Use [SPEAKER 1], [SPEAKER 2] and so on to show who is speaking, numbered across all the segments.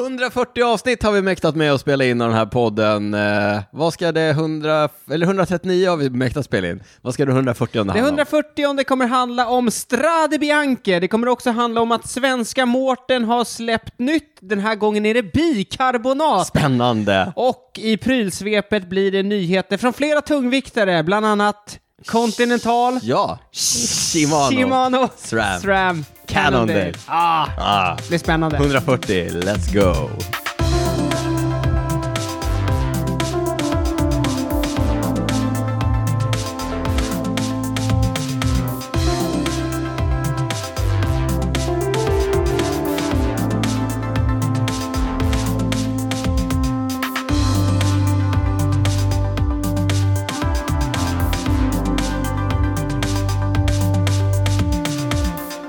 [SPEAKER 1] 140 avsnitt har vi mäktat med att spela in av den här podden. Eh, vad ska det 100, eller 139 har vi mäktat spela in. Vad ska det 140 handla
[SPEAKER 2] Det
[SPEAKER 1] om?
[SPEAKER 2] 140 det kommer handla om Strade Bianche. Det kommer också handla om att svenska Mårten har släppt nytt. Den här gången är det bikarbonat.
[SPEAKER 1] Spännande!
[SPEAKER 2] Och i prylsvepet blir det nyheter från flera tungviktare, bland annat Continental,
[SPEAKER 1] Ja, Shimano.
[SPEAKER 2] Shimano,
[SPEAKER 1] SRAM.
[SPEAKER 2] SRAM Cannondale.
[SPEAKER 1] Cannondale.
[SPEAKER 2] Ah,
[SPEAKER 1] Ah,
[SPEAKER 2] det blir spännande.
[SPEAKER 1] 140, let's go!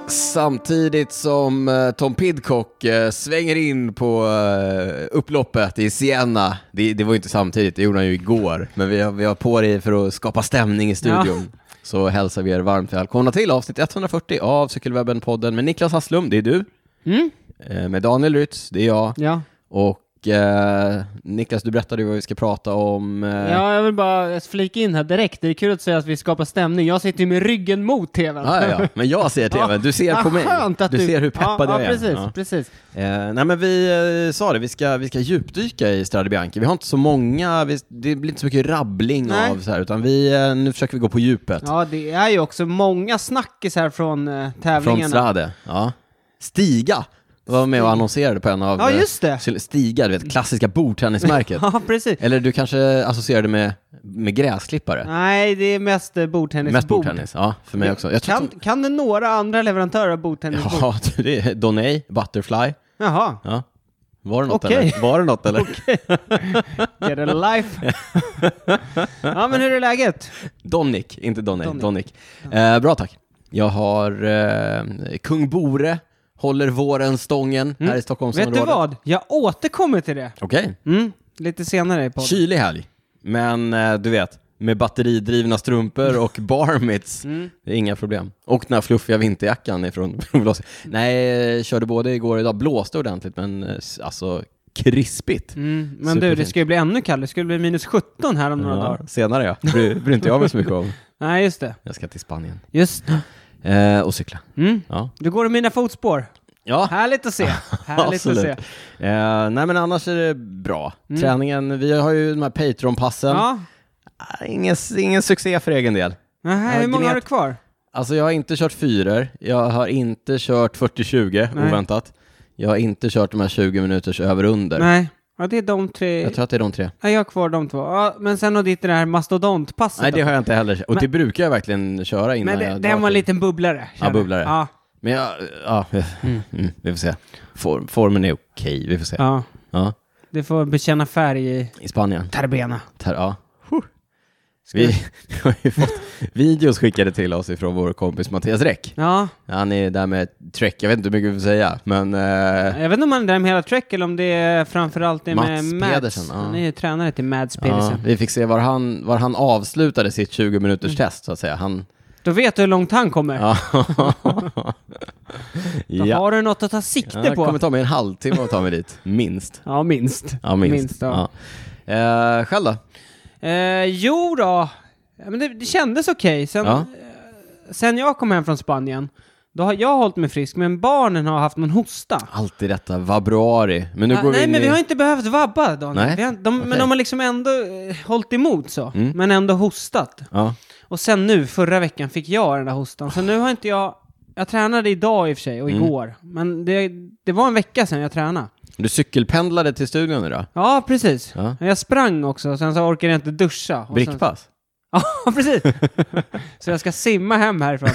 [SPEAKER 1] Samtidigt som eh, Tom Pidcock eh, svänger in på eh, upploppet i Siena. Det, det var ju inte samtidigt, det gjorde han ju igår. Men vi har, vi har på dig för att skapa stämning i studion. Så hälsar vi er varmt välkomna till avsnitt 140 av Cykelwebben-podden med Niklas Hasslum, det är du.
[SPEAKER 2] Mm?
[SPEAKER 1] Eh, Med Daniel Rytz, det är jag.
[SPEAKER 2] Ja.
[SPEAKER 1] Och eh, Niklas, du berättade ju vad vi ska prata om. eh,
[SPEAKER 2] ja, jag vill bara flika in här direkt. Det är kul att säga att vi skapar stämning. Jag sitter ju med ryggen mot tvn.
[SPEAKER 1] Ja, ja, ja. Men jag ser
[SPEAKER 2] Ja.
[SPEAKER 1] tvn, du ser på
[SPEAKER 2] Vad
[SPEAKER 1] mig.
[SPEAKER 2] skönt att
[SPEAKER 1] du, ser hur peppad jag
[SPEAKER 2] ja, ja,
[SPEAKER 1] är.
[SPEAKER 2] Precis,
[SPEAKER 1] Ja.
[SPEAKER 2] precis.
[SPEAKER 1] Eh, nej men vi eh, sa det, vi ska, vi ska djupdyka i Strade Bianchi. Vi har inte så många, vi, det blir inte så mycket rabbling
[SPEAKER 2] Nej.
[SPEAKER 1] av så här, utan vi, eh, nu försöker vi gå på djupet.
[SPEAKER 2] Ja, det är ju också många snackisar från eh, tävlingarna.
[SPEAKER 1] Från Strade. Ja. Stiga var med och annonserade på en av...
[SPEAKER 2] Ja,
[SPEAKER 1] eh,
[SPEAKER 2] just det.
[SPEAKER 1] Stiga, du vet, klassiska bordtennismärket.
[SPEAKER 2] Ja, precis.
[SPEAKER 1] Eller du kanske associerade med, med gräsklippare?
[SPEAKER 2] Nej, det är mest eh, bordtennis.
[SPEAKER 1] Mest
[SPEAKER 2] Bord.
[SPEAKER 1] bordtennis, ja, för mig också. Jag tror
[SPEAKER 2] Kan,
[SPEAKER 1] att
[SPEAKER 2] kan det några andra leverantörer av bordtennis?
[SPEAKER 1] de, ja, det är Donay, Butterfly.
[SPEAKER 2] Jaha,
[SPEAKER 1] Ja. Var det något
[SPEAKER 2] Okej.
[SPEAKER 1] eller? Var det något eller?
[SPEAKER 2] get a life. ja, men hur är läget?
[SPEAKER 1] Donic, inte Donny,
[SPEAKER 2] Donic.
[SPEAKER 1] Donic. Eh, bra tack. Jag har eh, Kung Bore håller våren stången här i
[SPEAKER 2] Mm. Vet
[SPEAKER 1] Stockholmsområdet.
[SPEAKER 2] du vad? Jag återkommer till det.
[SPEAKER 1] Okej,
[SPEAKER 2] Mm, lite senare i podden.
[SPEAKER 1] kylig helg. Men eh, du vet, med batteridrivna strumpor och barmits,
[SPEAKER 2] Mm.
[SPEAKER 1] det är inga problem. Och den här fluffiga vinterjackan ifrån Blås. Nej, eh, körde både igår och idag. Blåste ordentligt, men eh, s- alltså krispigt.
[SPEAKER 2] Mm, men du, det
[SPEAKER 1] Superfint.
[SPEAKER 2] ska ju bli ännu kallare. Det skulle bli minus 17 här om några
[SPEAKER 1] Ja,
[SPEAKER 2] dagar.
[SPEAKER 1] senare ja, bryr, bryr inte jag mig så mycket om.
[SPEAKER 2] Nej, just det.
[SPEAKER 1] Jag ska till Spanien
[SPEAKER 2] Just det.
[SPEAKER 1] eh, och cykla.
[SPEAKER 2] Mm.
[SPEAKER 1] Ja.
[SPEAKER 2] Du går i mina fotspår.
[SPEAKER 1] ja,
[SPEAKER 2] Härligt att se. Härligt att se.
[SPEAKER 1] Ah.
[SPEAKER 2] Mm.
[SPEAKER 1] Absolut. Eh, nej men annars är det bra. Träningen, vi har ju de här Patreon-passen.
[SPEAKER 2] Ja.
[SPEAKER 1] Ah, Ingen, ingen succé för egen del.
[SPEAKER 2] Nähä, hur många har du
[SPEAKER 1] gnet.
[SPEAKER 2] kvar?
[SPEAKER 1] Alltså jag har inte kört fyror, jag har inte kört 40-20
[SPEAKER 2] Nej.
[SPEAKER 1] oväntat. Jag har inte kört de här 20 minuters över under.
[SPEAKER 2] Nej. Ja, det är de tre.
[SPEAKER 1] Jag tror att det är de tre.
[SPEAKER 2] Nej, jag har kvar de två. Ja, men sen har ditt det här mastodontpasset.
[SPEAKER 1] Nej det
[SPEAKER 2] då.
[SPEAKER 1] har jag inte heller Och
[SPEAKER 2] Men-
[SPEAKER 1] det brukar jag verkligen köra innan
[SPEAKER 2] men
[SPEAKER 1] jag
[SPEAKER 2] det,
[SPEAKER 1] drar
[SPEAKER 2] den var en
[SPEAKER 1] till.
[SPEAKER 2] liten bubblare. känner jag.
[SPEAKER 1] bubblare.
[SPEAKER 2] Ja.
[SPEAKER 1] Men jag, ja, mm. vi får se. Form, formen är okej, vi får se. Ja.
[SPEAKER 2] ja. Det får bekänna färg i
[SPEAKER 1] I Spanien.
[SPEAKER 2] Tarbena.
[SPEAKER 1] Här, ja. Vi har ju fått videos skickade till oss ifrån vår kompis Mattias Räck.
[SPEAKER 2] Ja,
[SPEAKER 1] Han är där med Trek, jag vet inte hur mycket vi får säga, men eh,
[SPEAKER 2] jag vet inte om han är där med hela Trek eller om det är framförallt det med
[SPEAKER 1] Mats
[SPEAKER 2] Mads.
[SPEAKER 1] Pedersen, ja.
[SPEAKER 2] Han är ju tränare till Mads
[SPEAKER 1] ja,
[SPEAKER 2] Pedersen.
[SPEAKER 1] vi fick se var han, var han avslutade sitt 20 minuters
[SPEAKER 2] Mm.
[SPEAKER 1] test så att säga. Han,
[SPEAKER 2] Då vet du hur långt han kommer.
[SPEAKER 1] ja.
[SPEAKER 2] Då
[SPEAKER 1] ja.
[SPEAKER 2] har du något att ta sikte
[SPEAKER 1] Det
[SPEAKER 2] på.
[SPEAKER 1] kommer ta mig en halvtimme att ta mig dit, minst.
[SPEAKER 2] Ja, minst.
[SPEAKER 1] Ja, minst.
[SPEAKER 2] Minst, ja.
[SPEAKER 1] Ja. Eh, själv då?
[SPEAKER 2] Eh, jo då. Ja, Men det, det kändes okej. Sen,
[SPEAKER 1] Ja.
[SPEAKER 2] sen jag kom hem från Spanien, då har jag hållit mig frisk, men barnen har haft någon hosta.
[SPEAKER 1] Alltid detta vabruari. Men nu
[SPEAKER 2] Ah,
[SPEAKER 1] går vi
[SPEAKER 2] nej,
[SPEAKER 1] in
[SPEAKER 2] men
[SPEAKER 1] i...
[SPEAKER 2] vi har inte behövt vabba, Daniel.
[SPEAKER 1] Nej,
[SPEAKER 2] Vi har, de, Men
[SPEAKER 1] okej. Mm.
[SPEAKER 2] de har liksom ändå eh, hållit emot så, men ändå hostat.
[SPEAKER 1] ja.
[SPEAKER 2] Och sen nu, förra veckan, fick jag den där hostan. Så nu har inte jag... Jag tränade idag i och för sig, och
[SPEAKER 1] Mm.
[SPEAKER 2] igår. Men det, det var en vecka sedan jag tränade.
[SPEAKER 1] Du cykelpendlade till studion idag?
[SPEAKER 2] Ja, precis.
[SPEAKER 1] Ja.
[SPEAKER 2] Men Jag sprang också, och sen så orkade jag inte duscha. Och sen,
[SPEAKER 1] Brickpass?
[SPEAKER 2] Ja, precis. Så jag ska simma hem härifrån.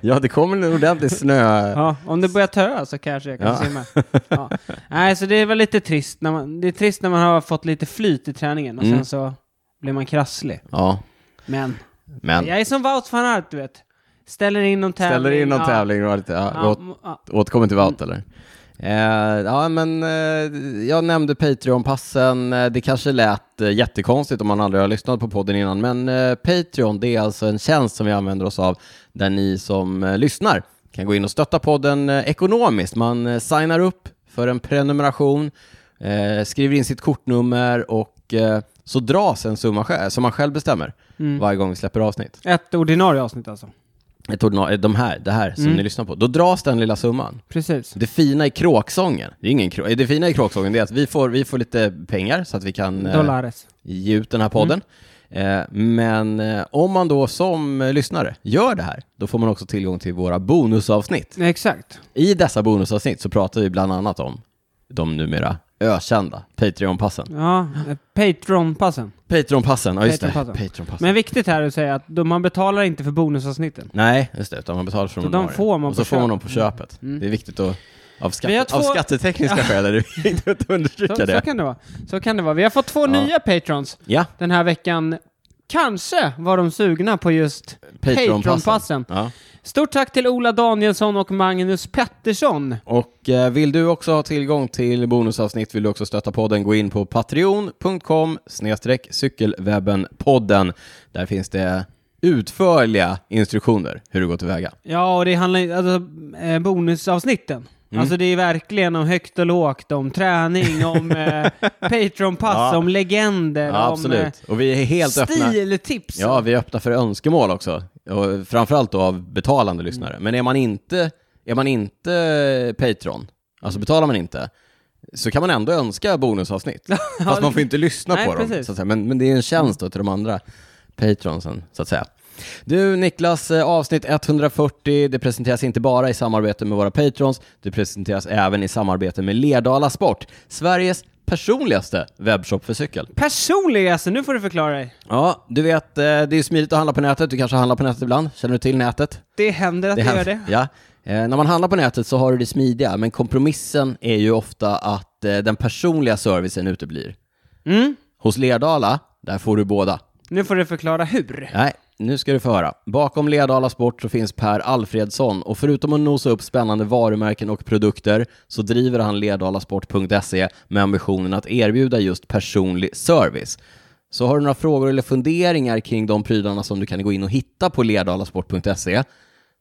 [SPEAKER 1] Ja, det kommer en ordentlig snö...
[SPEAKER 2] Ja, om det börjar töa så kanske jag kan
[SPEAKER 1] Ja.
[SPEAKER 2] simma. Ja. Nej, så det är väl lite trist när man, det är trist när man har fått lite flyt i träningen och sen
[SPEAKER 1] Mm.
[SPEAKER 2] så blir man krasslig.
[SPEAKER 1] Ja,
[SPEAKER 2] Men
[SPEAKER 1] men...
[SPEAKER 2] jag är som Wout van Aert, du vet. Ställer in någon tävling.
[SPEAKER 1] Ställer in någon
[SPEAKER 2] ja.
[SPEAKER 1] tävling och lite, ja,
[SPEAKER 2] Ja,
[SPEAKER 1] åt-
[SPEAKER 2] m- ja.
[SPEAKER 1] återkommer till Wout eller? Eh, ja, men eh, jag nämnde Patreon-passen. Eh, Det kanske lät eh, jättekonstigt om man aldrig har lyssnat på podden innan, men eh, Patreon det är alltså en tjänst som vi använder oss av där ni som eh, lyssnar kan gå in och stötta podden eh, ekonomiskt. Man eh, signar upp för en prenumeration, eh, skriver in sitt kortnummer och eh, så dras en summa själv, som man själv bestämmer varje gång vi släpper avsnitt.
[SPEAKER 2] mm. Ett ordinarie avsnitt alltså.
[SPEAKER 1] Ett ordinarie, de här, det här som ni lyssnar på. Då dras den lilla summan.
[SPEAKER 2] Precis.
[SPEAKER 1] Det fina i kråksången, det, är ingen krå- det fina i kråksången det är att vi får, vi får lite pengar så att vi kan eh,
[SPEAKER 2] Dollares.
[SPEAKER 1] ge ut den här podden. Eh, Men eh, om man då som eh, lyssnare gör det här, då får man också tillgång till våra bonusavsnitt.
[SPEAKER 2] Exakt.
[SPEAKER 1] I dessa bonusavsnitt så pratar vi bland annat om de numera ökända Patreon-passen.
[SPEAKER 2] Ja, eh, Patreon-passen.
[SPEAKER 1] Patreon-passen, ja just det.
[SPEAKER 2] Patreon-passen.
[SPEAKER 1] Patreon-passen.
[SPEAKER 2] Men viktigt här att säga att de- man betalar inte för bonusavsnitten.
[SPEAKER 1] Nej, just det, utan man betalar för
[SPEAKER 2] Så
[SPEAKER 1] dem
[SPEAKER 2] de
[SPEAKER 1] man har.
[SPEAKER 2] får man
[SPEAKER 1] Och så
[SPEAKER 2] på
[SPEAKER 1] får man
[SPEAKER 2] köpet. Mm.
[SPEAKER 1] dem på köpet. Det är viktigt att av,
[SPEAKER 2] Vi
[SPEAKER 1] skatte,
[SPEAKER 2] har två-
[SPEAKER 1] av skattetekniska skäl är det viktigt att
[SPEAKER 2] Så,
[SPEAKER 1] understryka
[SPEAKER 2] så
[SPEAKER 1] det.
[SPEAKER 2] kan det vara. Så kan det vara. Vi har fått två nya patrons
[SPEAKER 1] Ja,
[SPEAKER 2] den här veckan. Kanske var de sugna på just
[SPEAKER 1] Patreon-passen.
[SPEAKER 2] Patreon-passen.
[SPEAKER 1] ja.
[SPEAKER 2] Stort tack till Ola Danielsson och Magnus Pettersson.
[SPEAKER 1] Och eh, vill du också ha tillgång till bonusavsnitt, vill du också stötta podden, gå in på patreon.com snedstreck cykelwebbenpodden. Där finns det utförliga instruktioner hur du går tillväga.
[SPEAKER 2] Ja, och det handlar ju- alltså eh, bonusavsnitten.
[SPEAKER 1] Mm.
[SPEAKER 2] Alltså det är verkligen om högt och lågt, om träning, om eh, Patreon-pass,
[SPEAKER 1] Ja.
[SPEAKER 2] om legender,
[SPEAKER 1] Ja,
[SPEAKER 2] om eh,
[SPEAKER 1] absolut. Och vi är helt öppna.
[SPEAKER 2] stiltips.
[SPEAKER 1] Ja, vi är öppna för önskemål också. Och framförallt då av betalande
[SPEAKER 2] Mm.
[SPEAKER 1] lyssnare. Men är man inte, är man inte Patreon, alltså betalar man inte, så kan man ändå önska bonusavsnitt. Fast man får inte lyssna
[SPEAKER 2] Nej,
[SPEAKER 1] på dem.
[SPEAKER 2] precis.
[SPEAKER 1] Så att säga. Men, men det är en tjänst då till de andra Patronsen, så att säga. Du Niklas, eh, avsnitt 140, det presenteras inte bara i samarbete med våra Patrons, det presenteras även i samarbete med Lerdala Sport, Sveriges personligaste webbshop för cykel.
[SPEAKER 2] Personligaste, nu får du förklara dig.
[SPEAKER 1] Ja, du vet, eh, det är smidigt att handla på nätet. Du kanske handlar på nätet ibland. Känner du till nätet?
[SPEAKER 2] Det händer att det gör det.
[SPEAKER 1] Ja. Eh, När man handlar på nätet så har du det smidiga, men kompromissen är ju ofta att eh, den personliga servicen uteblir.
[SPEAKER 2] Mm.
[SPEAKER 1] Hos Lerdala, där får du båda.
[SPEAKER 2] Nu får du förklara hur.
[SPEAKER 1] Nej, nu ska du få höra. Bakom Lerdala Sport så finns Per Alfredsson och förutom att nosa upp spännande varumärken och produkter så driver han lerdalasport.se med ambitionen att erbjuda just personlig service. Så har du några frågor eller funderingar kring de prylarna som du kan gå in och hitta på lerdalasport.se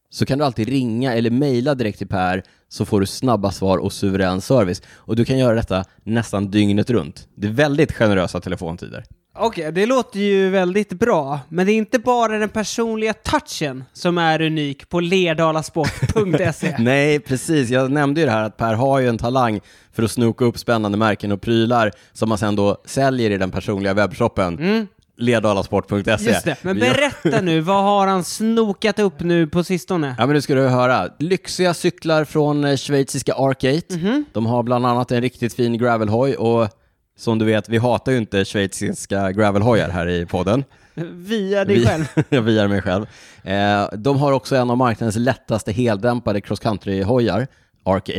[SPEAKER 1] så kan du alltid ringa eller mejla direkt till Per så får du snabba svar och suverän service. Och du kan göra detta nästan dygnet runt. Det är väldigt generösa telefontider.
[SPEAKER 2] Okej, det låter ju väldigt bra, men det är inte bara den personliga touchen som är unik på lerdalasport.se.
[SPEAKER 1] Nej, precis. Jag nämnde ju det här att Per har ju en talang för att snoka upp spännande märken och prylar som man sen då säljer i den personliga webbshoppen. Mm. Ledalasport.se.
[SPEAKER 2] Just det, men
[SPEAKER 1] Vi gör-
[SPEAKER 2] berätta nu, vad har han snokat upp nu på sistone?
[SPEAKER 1] Ja, men nu ska du höra. Lyxiga cyklar från eh, schweiziska Arcade.
[SPEAKER 2] Mhm.
[SPEAKER 1] De har bland annat en riktigt fin gravelhoj och som du vet, vi hatar ju inte schweiziska gravelhojar här i podden.
[SPEAKER 2] Via dig själv.
[SPEAKER 1] jag viar mig själv. Eh, de har också en av marknadens lättaste heldämpade cross country-hojar, Arc 8.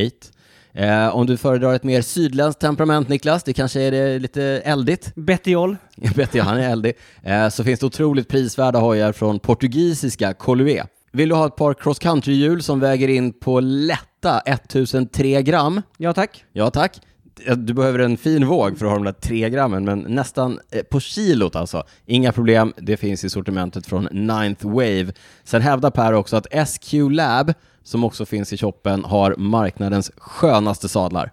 [SPEAKER 1] Eh, om du föredrar ett mer sydländskt temperament, Niklas, det kanske är det lite eldigt,
[SPEAKER 2] Bettiol.
[SPEAKER 1] jag vet ju, han är eldig, eh, så finns det otroligt prisvärda hojar från portugisiska Colué. Vill du ha ett par cross country-hjul som väger in på lätta 1003 gram?
[SPEAKER 2] Ja tack.
[SPEAKER 1] Ja tack. Du behöver en fin våg för att ha de där tre grammen, men nästan eh, på kilot alltså. Inga problem, det finns i sortimentet från Ninth Wave. Sen hävdar Per också att SQ Lab, som också finns i shoppen, har marknadens skönaste sadlar.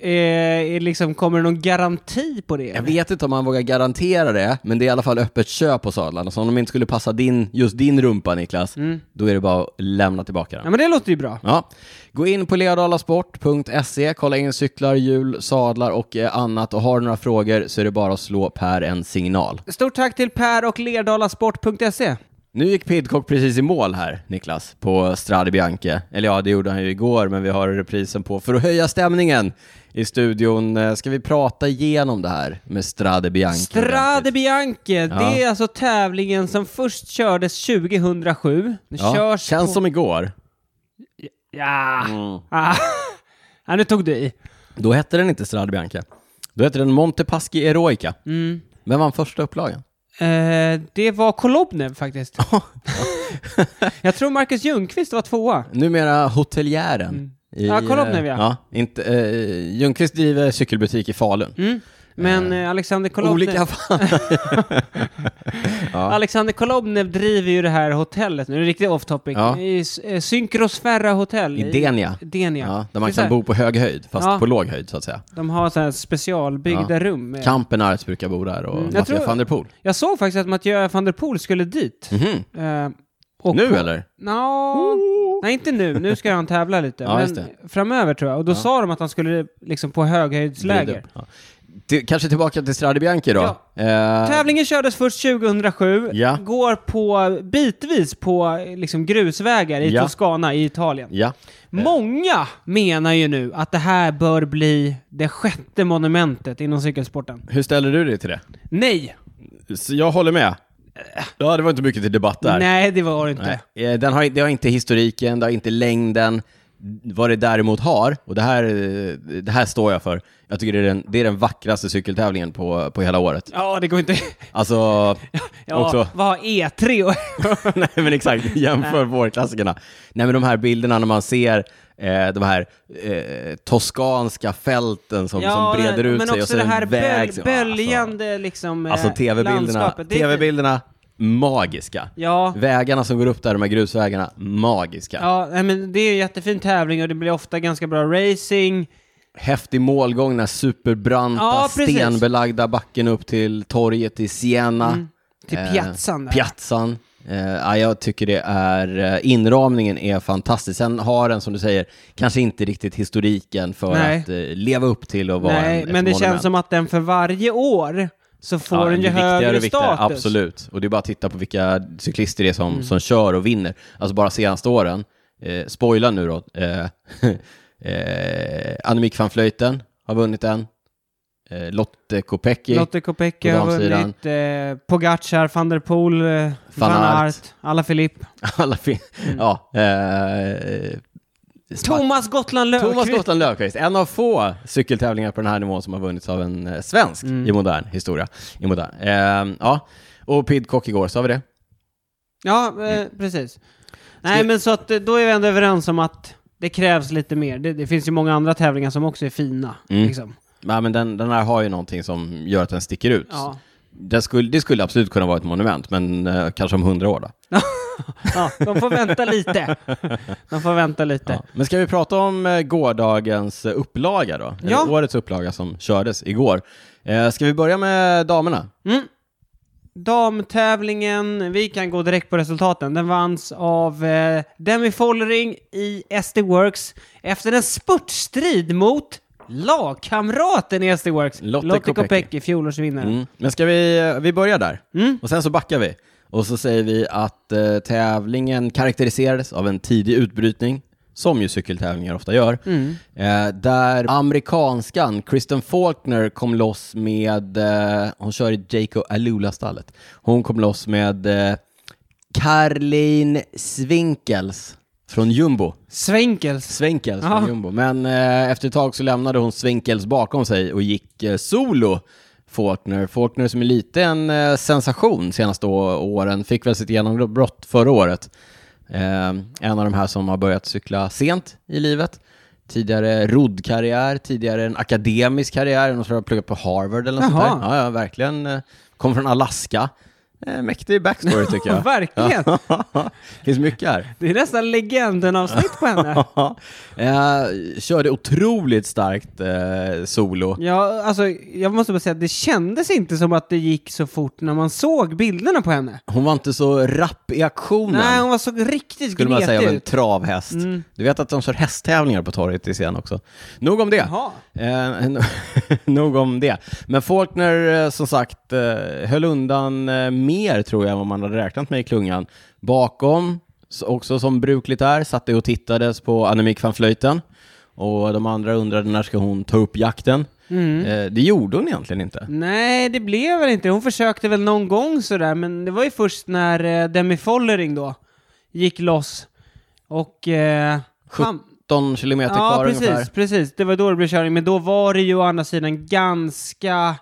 [SPEAKER 2] Eh, är liksom, kommer det någon garanti på det?
[SPEAKER 1] Jag vet inte om man vågar garantera det, men det är i alla fall öppet köp på sadlarna. Så om de inte skulle passa din, just din rumpa, Niklas, då är det bara att lämna tillbaka den.
[SPEAKER 2] Ja men det låter ju bra.
[SPEAKER 1] Ja. Gå in på lerdalasport.se, kolla in cyklar, hjul, sadlar och eh, annat. Och har du några frågor så är det bara att slå Per en signal.
[SPEAKER 2] Stort tack till Per och lerdalasport.se.
[SPEAKER 1] Nu gick Pidcock precis i mål här, Niklas, på Strade Bianche. Eller ja, det gjorde han ju igår, men vi har reprisen på. För att höja stämningen i studion eh, ska vi prata igenom det här med Strade Bianche.
[SPEAKER 2] Strade Bianche, det är alltså tävlingen som först kördes 2007. Den
[SPEAKER 1] Ja,
[SPEAKER 2] körs
[SPEAKER 1] känns
[SPEAKER 2] på...
[SPEAKER 1] som igår.
[SPEAKER 2] Ja. Ah. ja, nu tog du i.
[SPEAKER 1] Då hette den inte Strade Bianche. Då hette den Montepaschi Eroica. Mm. Men vann första upplagan.
[SPEAKER 2] Eh, det var Kolobnev faktiskt. jag tror Marcus Ljungqvist var tvåa.
[SPEAKER 1] Numera hoteljären. I,
[SPEAKER 2] Mm. Ja, Kolobnev,
[SPEAKER 1] eh,
[SPEAKER 2] ja.
[SPEAKER 1] ja inte, eh, Ljungqvist driver cykelbutik i Falun.
[SPEAKER 2] Men eh, Alexander
[SPEAKER 1] Olika
[SPEAKER 2] Kolobnev,
[SPEAKER 1] fan. ja.
[SPEAKER 2] Alexander Kolobnev driver ju det här hotellet nu, det är riktigt off topic,
[SPEAKER 1] Ja.
[SPEAKER 2] i S- eh, Synkrosfera hotell.
[SPEAKER 1] I Denia.
[SPEAKER 2] Denia.
[SPEAKER 1] Ja, där man
[SPEAKER 2] Det är så
[SPEAKER 1] kan
[SPEAKER 2] här,
[SPEAKER 1] bo på hög höjd, fast
[SPEAKER 2] Ja.
[SPEAKER 1] på låg höjd så att säga.
[SPEAKER 2] De har så här specialbyggda
[SPEAKER 1] Ja.
[SPEAKER 2] rum. med-
[SPEAKER 1] Kampenarts brukar bo där och
[SPEAKER 2] Mm, jag
[SPEAKER 1] Mattias
[SPEAKER 2] tror-
[SPEAKER 1] van der Poel.
[SPEAKER 2] Jag såg faktiskt att Mathieu van der Poel skulle dit.
[SPEAKER 1] Mhm.
[SPEAKER 2] Eh, och
[SPEAKER 1] Nu
[SPEAKER 2] på-
[SPEAKER 1] eller?
[SPEAKER 2] Nå, nej inte nu. Nu ska han tävla lite.
[SPEAKER 1] Ja, just
[SPEAKER 2] men framöver tror jag. Och då sa de att han skulle liksom på höghöjdsläger.
[SPEAKER 1] Vrida upp, Ja. Till, kanske tillbaka till Strade Bianchi då. Eh,
[SPEAKER 2] Tävlingen kördes först 2007,
[SPEAKER 1] Ja.
[SPEAKER 2] går på bitvis på liksom, grusvägar i
[SPEAKER 1] Ja.
[SPEAKER 2] Toscana i Italien.
[SPEAKER 1] ja.
[SPEAKER 2] Många menar ju nu att det här bör bli det sjätte monumentet inom cykelsporten.
[SPEAKER 1] Hur ställer du dig till det?
[SPEAKER 2] Nej!
[SPEAKER 1] Så jag håller med. Ja, det var inte mycket till debatt där.
[SPEAKER 2] Nej, det var det inte.
[SPEAKER 1] Nej. Eh, Den har, det har inte historiken, det har inte längden. Vad det däremot har, och det här, eh, det här står jag för, jag tycker det är den, det är den vackraste cykeltävlingen på, på hela året.
[SPEAKER 2] Ja, det går inte.
[SPEAKER 1] Alltså,
[SPEAKER 2] Ja,
[SPEAKER 1] också...
[SPEAKER 2] Vad har E3 och...
[SPEAKER 1] Nej men exakt, jämför vårklassikerna. Nej men de här bilderna när man ser eh, de här eh, toskanska fälten som, som breder
[SPEAKER 2] men,
[SPEAKER 1] ut
[SPEAKER 2] men
[SPEAKER 1] sig.
[SPEAKER 2] också
[SPEAKER 1] och så är
[SPEAKER 2] det
[SPEAKER 1] en
[SPEAKER 2] här
[SPEAKER 1] väg
[SPEAKER 2] böl,
[SPEAKER 1] som-
[SPEAKER 2] böljande liksom, eh,
[SPEAKER 1] Alltså, alltså tv-bilderna,
[SPEAKER 2] landskapet. Det är-
[SPEAKER 1] TV-bilderna, magiska.
[SPEAKER 2] Ja,
[SPEAKER 1] Vägarna som går upp där, de här grusvägarna, magiska.
[SPEAKER 2] ja nej, men det är en jättefin tävling och det blir ofta ganska bra racing.
[SPEAKER 1] häftig målgång, den här superbranta,
[SPEAKER 2] Ja, precis.
[SPEAKER 1] stenbelagda backen upp till torget i Siena.
[SPEAKER 2] Mm. Till
[SPEAKER 1] Eh,
[SPEAKER 2] piazzan där.
[SPEAKER 1] Piazzan. Eh, ja, jag tycker det är, eh, inramningen är fantastisk. Sen har den, som du säger, kanske inte riktigt historiken för
[SPEAKER 2] Nej.
[SPEAKER 1] att eh, leva upp till och vara
[SPEAKER 2] Nej,
[SPEAKER 1] en,
[SPEAKER 2] men
[SPEAKER 1] ett
[SPEAKER 2] det
[SPEAKER 1] monument.
[SPEAKER 2] känns som att den för varje år så får
[SPEAKER 1] Ja,
[SPEAKER 2] den ju
[SPEAKER 1] det blir viktigare
[SPEAKER 2] högre
[SPEAKER 1] och viktigare,
[SPEAKER 2] status. Mm.
[SPEAKER 1] Absolut, och det är bara att titta på vilka cyklister det är som, som kör och vinner. Alltså bara senaste åren, eh, spoila nu då, eh, eh, Annemiek van Vleuten har vunnit en, eh, Lotte Kopecky,
[SPEAKER 2] Lotte Kopecky
[SPEAKER 1] På
[SPEAKER 2] har
[SPEAKER 1] damsidan.
[SPEAKER 2] vunnit, eh, Pogacar, van der Poel, eh, van,
[SPEAKER 1] Aert.
[SPEAKER 2] Aert, Alaphilippe,
[SPEAKER 1] alla fin- ja, eh, Spa-
[SPEAKER 2] Mm. Thomas Gotland
[SPEAKER 1] Thomas
[SPEAKER 2] Löfqvist.
[SPEAKER 1] Gotland Löfqvist, en av få cykeltävlingar på den här nivån som har vunnits av en eh, svensk
[SPEAKER 2] Mm.
[SPEAKER 1] i modern historia. I modern. Eh, ja. Och Pidcock igår, sa vi det?
[SPEAKER 2] Ja, eh,
[SPEAKER 1] Mm.
[SPEAKER 2] precis. Nej, men så att eh, då är vi ändå överens om att det krävs lite mer. Det, det finns ju många andra tävlingar som också är fina.
[SPEAKER 1] Mm.
[SPEAKER 2] Liksom.
[SPEAKER 1] Nej, men den, den här har ju någonting som gör att den sticker ut.
[SPEAKER 2] Ja.
[SPEAKER 1] Den skulle, det skulle absolut kunna vara ett monument, men eh, kanske om hundra år då.
[SPEAKER 2] ja, de får vänta lite. De får vänta lite.
[SPEAKER 1] Ja. Men ska vi prata om eh, gårdagens eh, upplaga då? Eller
[SPEAKER 2] Ja.
[SPEAKER 1] årets upplaga som kördes igår. Eh, ska vi börja med damerna?
[SPEAKER 2] Mm. Damtävlingen, vi kan gå direkt på resultaten. Den vanns av eh, Demi Follering i SD Works efter en spurtstrid mot lagkamraten i SD Works,
[SPEAKER 1] Lotte Kopecky.
[SPEAKER 2] Kopecky, fjolårsvinnaren.
[SPEAKER 1] Mm. Men ska vi, eh, vi börjar där,
[SPEAKER 2] Mm.
[SPEAKER 1] och sen så backar vi. Och så säger vi att eh, tävlingen karaktäriserades av en tidig utbrytning, som ju cykeltävlingar ofta gör.
[SPEAKER 2] Mm.
[SPEAKER 1] Eh, där amerikanskan Kristen Faulkner kom loss med, eh, hon kör i Jaco Alula-stallet, hon kom loss med eh, Caroline Swinkels från Jumbo.
[SPEAKER 2] Svenkels.
[SPEAKER 1] Swinkels
[SPEAKER 2] Aha.
[SPEAKER 1] från Jumbo. Men eh, efter ett tag så lämnade hon Swinkels bakom sig och gick eh, solo. Faulkner. Faulkner som är lite en eh, sensation senaste å- åren. Fick väl sitt genombrott förra året. Eh, en av de här som har börjat cykla sent i livet. Tidigare roddkarriär, tidigare en akademisk karriär. Någon som har pluggat på Harvard eller något sånt
[SPEAKER 2] Jaha.
[SPEAKER 1] där. Ja, ja, verkligen. eh, Kom från Alaska. Eh, mäktig backstory tycker jag.
[SPEAKER 2] Verkligen.
[SPEAKER 1] Finns mycket här.
[SPEAKER 2] Det är nästan legenden-avsnitt på henne.
[SPEAKER 1] Ja, eh, körde otroligt starkt eh, solo.
[SPEAKER 2] Ja, alltså, jag måste bara säga att det kändes inte som att det gick så fort när man såg bilderna på henne.
[SPEAKER 1] Hon var inte så rapp i aktionen.
[SPEAKER 2] Nej, hon var så riktigt
[SPEAKER 1] skulle man säga av
[SPEAKER 2] gnetig
[SPEAKER 1] en
[SPEAKER 2] ut.
[SPEAKER 1] travhäst.
[SPEAKER 2] Mm.
[SPEAKER 1] Du vet att de kör hästtävlingar på torget i Sen också. Nog om det.
[SPEAKER 2] Jaha.
[SPEAKER 1] Eh, no- nog om det. Men Faulkner, eh, som sagt, eh, höll undan eh, mer tror jag än vad man hade räknat med i klungan. Bakom, s- också som brukligt är, satt det och tittades på Annemiek van Vleuten. Och de andra undrade när ska hon ta upp jakten.
[SPEAKER 2] Mm.
[SPEAKER 1] Eh, det gjorde hon egentligen inte.
[SPEAKER 2] Nej, det blev väl inte. Hon försökte väl någon gång sådär, men det var ju först när eh, Demi Follering då gick loss och... Eh, han-
[SPEAKER 1] 17 kilometer
[SPEAKER 2] ja,
[SPEAKER 1] kvar
[SPEAKER 2] precis,
[SPEAKER 1] ungefär.
[SPEAKER 2] precis. Det var då det blev körning, men då var det ju å andra sidan ganska...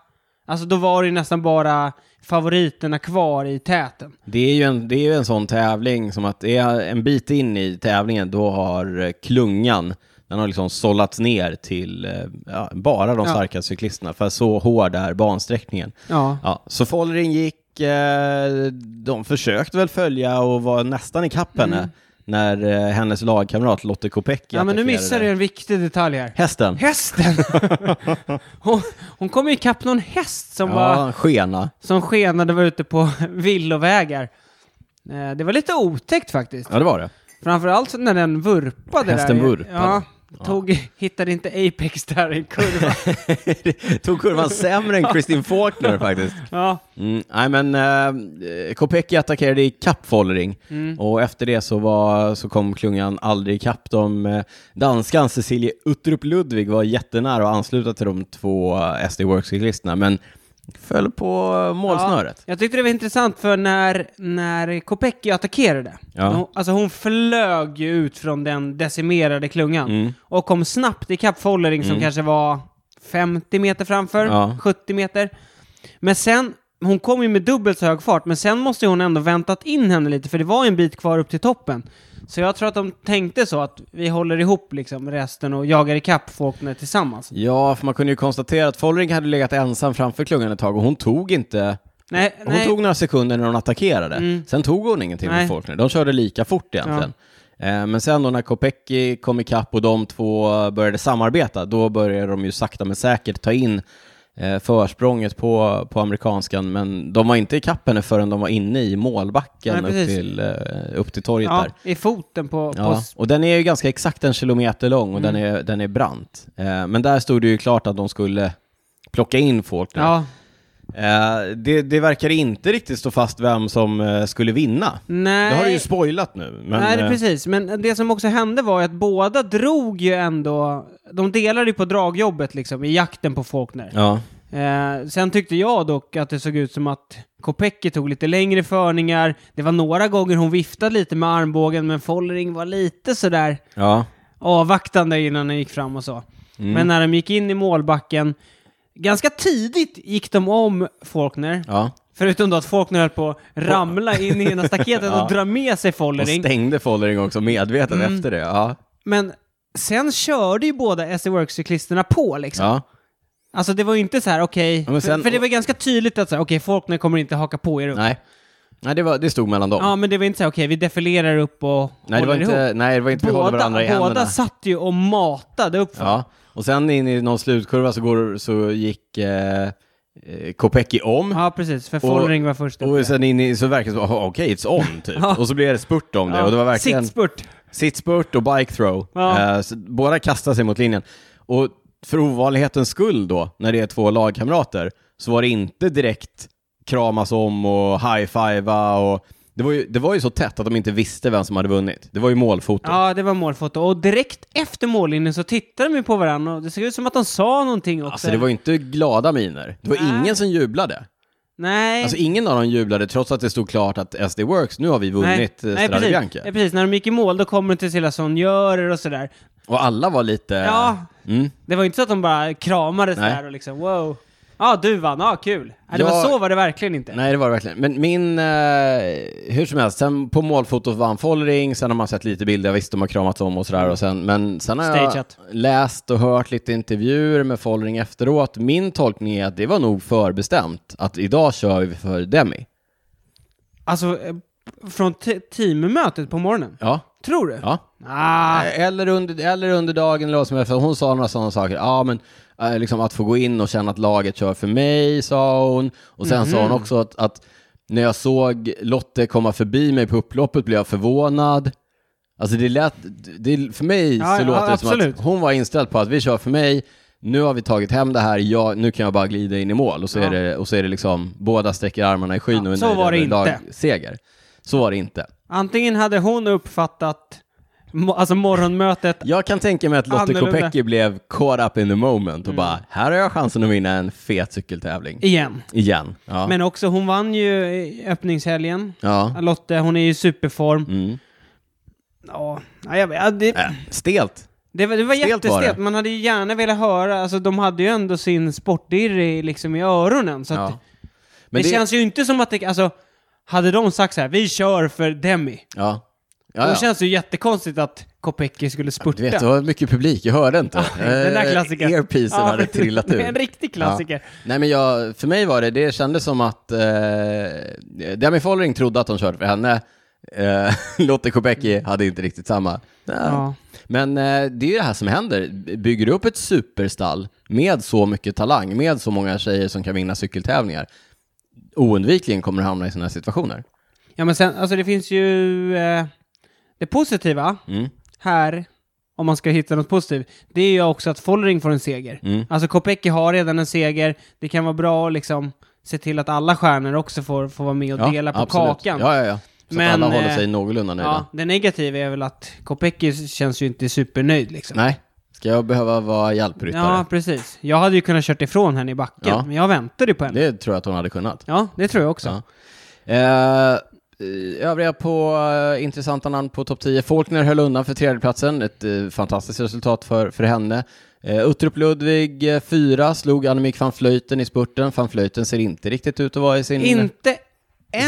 [SPEAKER 2] Alltså då var det ju nästan bara favoriterna kvar i täten.
[SPEAKER 1] Det är ju en, det är ju en sån tävling som att är en bit in i tävlingen då har eh, klungan, Den har liksom sållats ner till eh, ja, bara de
[SPEAKER 2] Ja.
[SPEAKER 1] starka cyklisterna, för så hård är bansträckningen.
[SPEAKER 2] Ja.
[SPEAKER 1] Ja, så Follering gick, eh, de försökte väl följa och var nästan i kapp henne när eh, hennes lagkamrat Lotte Kopecky
[SPEAKER 2] Mm. ja, men nu
[SPEAKER 1] attackerade
[SPEAKER 2] missar du
[SPEAKER 1] där.
[SPEAKER 2] en viktig detalj här.
[SPEAKER 1] Hästen.
[SPEAKER 2] Hästen! hon, hon kom ju ikapp någon häst som, var,
[SPEAKER 1] Ja, skena.
[SPEAKER 2] som skenade var ute på villovägar. Eh, Det var lite otäckt faktiskt.
[SPEAKER 1] Ja, det var det.
[SPEAKER 2] Framförallt när den vurpade
[SPEAKER 1] Hästen
[SPEAKER 2] där.
[SPEAKER 1] vurpade.
[SPEAKER 2] Ja, tog, hittade inte Apex där i en kurva.
[SPEAKER 1] Tog kurvan sämre än Kristin Faulkner faktiskt.
[SPEAKER 2] ja.
[SPEAKER 1] Mm, nej, men eh, Kopecky attackerade i kapp Follering och efter det så, var, så kom klungan aldrig i kapp dem. Eh, Danskan Cecilie Uttrup Ludvig var jättenära att ansluta till de två eh, SD Works-cyklisterna, men föll på eh, målsnöret.
[SPEAKER 2] Jag tyckte det var intressant för när, när Kopecky attackerade,
[SPEAKER 1] Ja.
[SPEAKER 2] hon, alltså hon flög ju ut från den decimerade klungan
[SPEAKER 1] Mm.
[SPEAKER 2] och kom snabbt ikapp Follering som kanske var 50 meter framför,
[SPEAKER 1] Ja.
[SPEAKER 2] 70 meter. Men sen, hon kom ju med dubbelt så hög fart, men sen måste ju hon ändå väntat in henne lite för det var ju en bit kvar upp till toppen. Så jag tror att de tänkte så att vi håller ihop liksom resten och jagar ikapp Faulkner tillsammans.
[SPEAKER 1] Ja, för man kunde ju konstatera att Follering hade legat ensam framför klungan ett tag och hon tog inte
[SPEAKER 2] Nej,
[SPEAKER 1] Hon
[SPEAKER 2] nej. Mm.
[SPEAKER 1] tog några sekunder när hon attackerade. Sen tog hon ingenting
[SPEAKER 2] Nej.
[SPEAKER 1] med Faulkner. De körde lika fort egentligen. Eh, Men sen då när Kopecky kom ikapp och de två började samarbeta, då började de ju sakta men säkert ta in eh, försprånget på, på amerikanskan. Men de var inte ikapp henne förrän de var inne i målbacken
[SPEAKER 2] Nej,
[SPEAKER 1] upp,
[SPEAKER 2] precis.
[SPEAKER 1] till, eh, upp till torget
[SPEAKER 2] ja,
[SPEAKER 1] där.
[SPEAKER 2] i foten på, på
[SPEAKER 1] Ja, och den är ju ganska exakt en kilometer lång och den,
[SPEAKER 2] Mm.
[SPEAKER 1] är, den är brant. Eh, Men där stod det ju klart att de skulle plocka in Faulkner.
[SPEAKER 2] ja.
[SPEAKER 1] Eh, det, det verkar inte riktigt stå fast vem som eh, skulle vinna.
[SPEAKER 2] Nej.
[SPEAKER 1] Det har du ju spoilat nu. Men,
[SPEAKER 2] Nej, det är
[SPEAKER 1] eh,
[SPEAKER 2] precis. Men det som också hände var ju att båda drog ju ändå... De delade ju på dragjobbet liksom i jakten på Faulkner.
[SPEAKER 1] Ja.
[SPEAKER 2] Eh, sen tyckte jag dock att det såg ut som att Kopecky tog lite längre förningar. Det var några gånger hon viftade lite med armbågen, men Follering var lite sådär
[SPEAKER 1] ja.
[SPEAKER 2] avvaktande innan de gick fram och så.
[SPEAKER 1] Mm.
[SPEAKER 2] Men när de gick in i målbacken, ganska tidigt gick de om Faulkner.
[SPEAKER 1] Ja.
[SPEAKER 2] Förutom då att Faulkner höll på att ramla in i ena staketet och dra med sig
[SPEAKER 1] Och
[SPEAKER 2] Follering.
[SPEAKER 1] stängde Follering också medvetet
[SPEAKER 2] Mm.
[SPEAKER 1] efter det. Ja.
[SPEAKER 2] Men sen körde ju båda SD Works-cyklisterna på liksom.
[SPEAKER 1] Ja.
[SPEAKER 2] Alltså det var ju inte så här, okej,
[SPEAKER 1] Ja, men
[SPEAKER 2] för,
[SPEAKER 1] sen-
[SPEAKER 2] för det var ganska tydligt att så här, okej, Faulkner kommer inte haka på er upp.
[SPEAKER 1] Nej, Nej det, var, det stod mellan dem.
[SPEAKER 2] Ja, men det var inte så här, okej, vi defilerar upp och
[SPEAKER 1] Nej, det var
[SPEAKER 2] håller ihop.
[SPEAKER 1] inte, nej, det var inte vi håller
[SPEAKER 2] Båda,
[SPEAKER 1] varandra i
[SPEAKER 2] båda
[SPEAKER 1] händerna.
[SPEAKER 2] satt ju och matade upp för.
[SPEAKER 1] Ja. Och sen in i någon slutkurva så, går, så gick eh, eh, Kopecky om.
[SPEAKER 2] Ja, precis, för Follering var först upp.
[SPEAKER 1] Och sen in i, så verkar det som, "Aha, okej, it's on typ.
[SPEAKER 2] Ja.
[SPEAKER 1] Och så blev det spurt om det.
[SPEAKER 2] Ja,
[SPEAKER 1] Och det var verkligen...
[SPEAKER 2] Sittspurt.
[SPEAKER 1] Sittspurt och bike throw.
[SPEAKER 2] Ja.
[SPEAKER 1] Eh, så båda kastar sig mot linjen. Och för ovanlighetens skull då, när det är två lagkamrater, så var det inte direkt kramas om och high-fivea och det var, ju, det var ju så tätt att de inte visste vem som hade vunnit. Det var ju målfoto.
[SPEAKER 2] Ja, det var målfoto. Och direkt efter mållinjen så tittade de ju på varandra och det såg ut som att de sa någonting också.
[SPEAKER 1] Alltså det var ju inte glada miner. Det var
[SPEAKER 2] Nej.
[SPEAKER 1] ingen som jublade.
[SPEAKER 2] Nej.
[SPEAKER 1] Alltså ingen av dem jublade trots att det stod klart att SD Works, nu har vi vunnit eh, Strade
[SPEAKER 2] precis.
[SPEAKER 1] Bianca.
[SPEAKER 2] Nej, precis. När de gick i mål då kom de till sina sonjörer och sådär.
[SPEAKER 1] Och alla var lite...
[SPEAKER 2] Ja.
[SPEAKER 1] Mm.
[SPEAKER 2] Det var inte så att de bara kramades
[SPEAKER 1] Nej.
[SPEAKER 2] där och liksom wow. Ja, du vann, ja kul. Ja, det
[SPEAKER 1] Ja.
[SPEAKER 2] var så var det verkligen inte.
[SPEAKER 1] Nej, det var det verkligen. Men min, eh, hur som helst, sen på målfotot vann Follering, sen har man sett lite bilder, visst de har kramats om och sådär, och sen, men sen har
[SPEAKER 2] Stageat.
[SPEAKER 1] jag läst och hört lite intervjuer med Follering efteråt. Min tolkning är att det var nog förbestämt, att idag kör vi för Demi.
[SPEAKER 2] Alltså, eh, från te- teammötet på morgonen.
[SPEAKER 1] Ja.
[SPEAKER 2] Tror du?
[SPEAKER 1] ja.
[SPEAKER 2] Ah,
[SPEAKER 1] Eh, Eller, under, eller under dagen eller vad som helst, för hon sa några sådana saker. Ja, men eh, liksom att få gå in och känna att laget kör för mig, sa hon. Och sen sa
[SPEAKER 2] Mhm.
[SPEAKER 1] hon också att, att när jag såg Lotte komma förbi mig på upploppet blev jag förvånad. Alltså det lät, det, för mig
[SPEAKER 2] Ja,
[SPEAKER 1] så
[SPEAKER 2] ja,
[SPEAKER 1] låter det som
[SPEAKER 2] absolut.
[SPEAKER 1] att hon var inställd på att vi kör för mig, nu har vi tagit hem det här, jag, nu kan jag bara glida in i mål. Och så,
[SPEAKER 2] Ja.
[SPEAKER 1] är, det, och så är det liksom, båda sträcker armarna i skyn
[SPEAKER 2] Ja,
[SPEAKER 1] och är
[SPEAKER 2] så
[SPEAKER 1] nöjda
[SPEAKER 2] var det
[SPEAKER 1] över
[SPEAKER 2] inte.
[SPEAKER 1] lagseger. Så var det inte.
[SPEAKER 2] antingen hade hon uppfattat mo- alltså morgonmötet
[SPEAKER 1] Jag kan tänka mig att Lotte
[SPEAKER 2] Annorlunda. Mm.
[SPEAKER 1] Kopecky blev caught up in the moment och bara, här har jag chansen att vinna en fet cykeltävling.
[SPEAKER 2] igen.
[SPEAKER 1] Igen. Ja.
[SPEAKER 2] Men också, hon vann ju i öppningshelgen.
[SPEAKER 1] ja.
[SPEAKER 2] Lotte, hon är ju i superform.
[SPEAKER 1] Mm.
[SPEAKER 2] Ja, ja, jag vet, ja, det,
[SPEAKER 1] Äh, stelt.
[SPEAKER 2] Det var, det var
[SPEAKER 1] Stelt var
[SPEAKER 2] jättestelt,
[SPEAKER 1] det.
[SPEAKER 2] man hade ju gärna velat höra, alltså de hade ju ändå sin sportdirre liksom i öronen så att
[SPEAKER 1] Ja.
[SPEAKER 2] det,
[SPEAKER 1] Men det-
[SPEAKER 2] känns ju inte som att det, alltså hade de sagt så här, vi kör för Demi,
[SPEAKER 1] Ja. Ja,
[SPEAKER 2] Då
[SPEAKER 1] ja.
[SPEAKER 2] känns det ju jättekonstigt att Kopecky skulle spurta.
[SPEAKER 1] Du vet, det var mycket publik, jag hörde inte.
[SPEAKER 2] Den där
[SPEAKER 1] Eh,
[SPEAKER 2] klassikern.
[SPEAKER 1] Earpiecen
[SPEAKER 2] Ja,
[SPEAKER 1] hade trillat
[SPEAKER 2] det
[SPEAKER 1] ur.
[SPEAKER 2] är En riktig klassiker.
[SPEAKER 1] Ja. Nej men jag, för mig var det, det kändes som att eh, Demi Follering trodde att hon körde för henne. Eh, Lotte Kopecky hade inte riktigt samma. Nej.
[SPEAKER 2] Ja.
[SPEAKER 1] Men eh, det är ju det här som händer. Bygger du upp ett superstall med så mycket talang, med så många tjejer som kan vinna cykeltävlingar, oundvikligen kommer du hamna i sådana här situationer.
[SPEAKER 2] Ja men sen, alltså det finns ju eh, det positiva
[SPEAKER 1] Mm.
[SPEAKER 2] här, om man ska hitta något positivt, det är ju också att Follering får en seger.
[SPEAKER 1] Mm.
[SPEAKER 2] Alltså Kopecky har redan en seger, det kan vara bra att liksom se till att alla stjärnor också får, får vara med och dela på
[SPEAKER 1] absolut.
[SPEAKER 2] kakan.
[SPEAKER 1] Ja, ja, ja. Så
[SPEAKER 2] Men,
[SPEAKER 1] att alla håller sig
[SPEAKER 2] eh,
[SPEAKER 1] någorlunda nöjda.
[SPEAKER 2] Ja, det negativa är väl att Kopecky känns ju inte supernöjd liksom.
[SPEAKER 1] Nej, ska jag behöva vara hjälpryttare?
[SPEAKER 2] Ja, precis. Jag hade ju kunnat kört ifrån henne i backen,
[SPEAKER 1] Ja.
[SPEAKER 2] men jag väntade ju på henne.
[SPEAKER 1] Det tror jag att hon hade kunnat.
[SPEAKER 2] Ja, det tror jag också.
[SPEAKER 1] Ja. Eh, övriga på eh, intressanta namn på topp 10. Faulkner höll undan för tredjeplatsen. Ett eh, fantastiskt resultat för, för henne. Eh, Uttrup Ludvig eh, fyra, slog Annemiek van Vleuten i spurten. Van Vleuten ser inte riktigt ut att vara i sin...
[SPEAKER 2] Inte
[SPEAKER 1] sitt-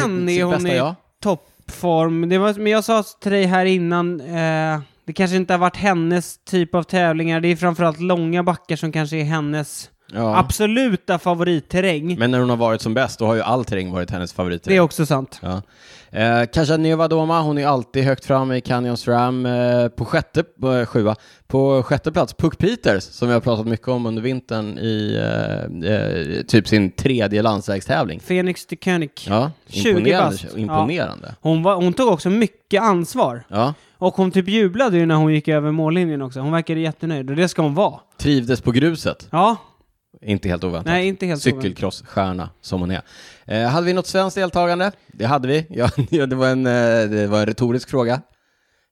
[SPEAKER 2] än
[SPEAKER 1] sitt
[SPEAKER 2] är hon
[SPEAKER 1] bästa
[SPEAKER 2] i
[SPEAKER 1] jag.
[SPEAKER 2] toppform. Det var, men jag sa till dig här innan, eh, det kanske inte har varit hennes typ av tävlingar. Det är framförallt långa backar som kanske är hennes
[SPEAKER 1] Ja.
[SPEAKER 2] absoluta favoritterräng.
[SPEAKER 1] Men när hon har varit som bäst, då har ju all terräng varit hennes favorit.
[SPEAKER 2] det är också sant.
[SPEAKER 1] Ja. Eh, Kasia Nevadoma, hon är alltid högt fram i Canyons Ram eh, på sjätte, eh, sjua. På sjätte plats, Puck Peters, som vi har pratat mycket om under vintern i eh, eh, typ sin tredje landsvägstävling.
[SPEAKER 2] Phoenix de König.
[SPEAKER 1] Ja,
[SPEAKER 2] 20
[SPEAKER 1] imponerande.
[SPEAKER 2] bast.
[SPEAKER 1] imponerande.
[SPEAKER 2] Hon, var, hon tog också mycket ansvar.
[SPEAKER 1] Ja.
[SPEAKER 2] Och hon typ jublade ju när hon gick över mållinjen också. Hon verkade jättenöjd och det ska hon vara.
[SPEAKER 1] Trivdes på gruset,
[SPEAKER 2] Ja,
[SPEAKER 1] inte helt oväntat.
[SPEAKER 2] nej inte helt oväntat.
[SPEAKER 1] Cykelcrossstjärna som hon är. Eh, hade vi något svenskt deltagande? Det hade vi. Ja, det, var en, eh, det var en retorisk fråga.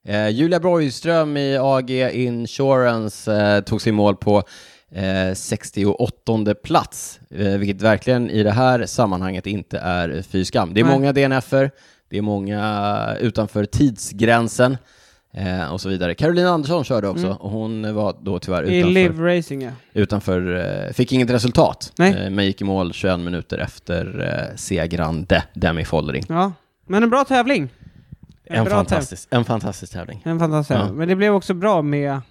[SPEAKER 1] Eh, Julia Borgström i AG Insurance eh, tog sin mål på eh, 68 plats, eh, vilket verkligen i det här sammanhanget inte är fy skam. Det är
[SPEAKER 2] Nej.
[SPEAKER 1] många DNFer, det är många utanför tidsgränsen eh, och så vidare. Caroline Andersson körde också och hon var då tyvärr
[SPEAKER 2] Mm. I
[SPEAKER 1] utanför
[SPEAKER 2] Live Racing ja.
[SPEAKER 1] utanför, eh, fick inget resultat,
[SPEAKER 2] Nej.
[SPEAKER 1] Eh, men gick i mål 21 minuter efter eh, segrande Demi Follering.
[SPEAKER 2] ja. Men en bra tävling. En
[SPEAKER 1] En
[SPEAKER 2] bra tävling.
[SPEAKER 1] fantastisk, en fantastisk tävling.
[SPEAKER 2] En fantastisk
[SPEAKER 1] Ja.
[SPEAKER 2] Men det blev också bra med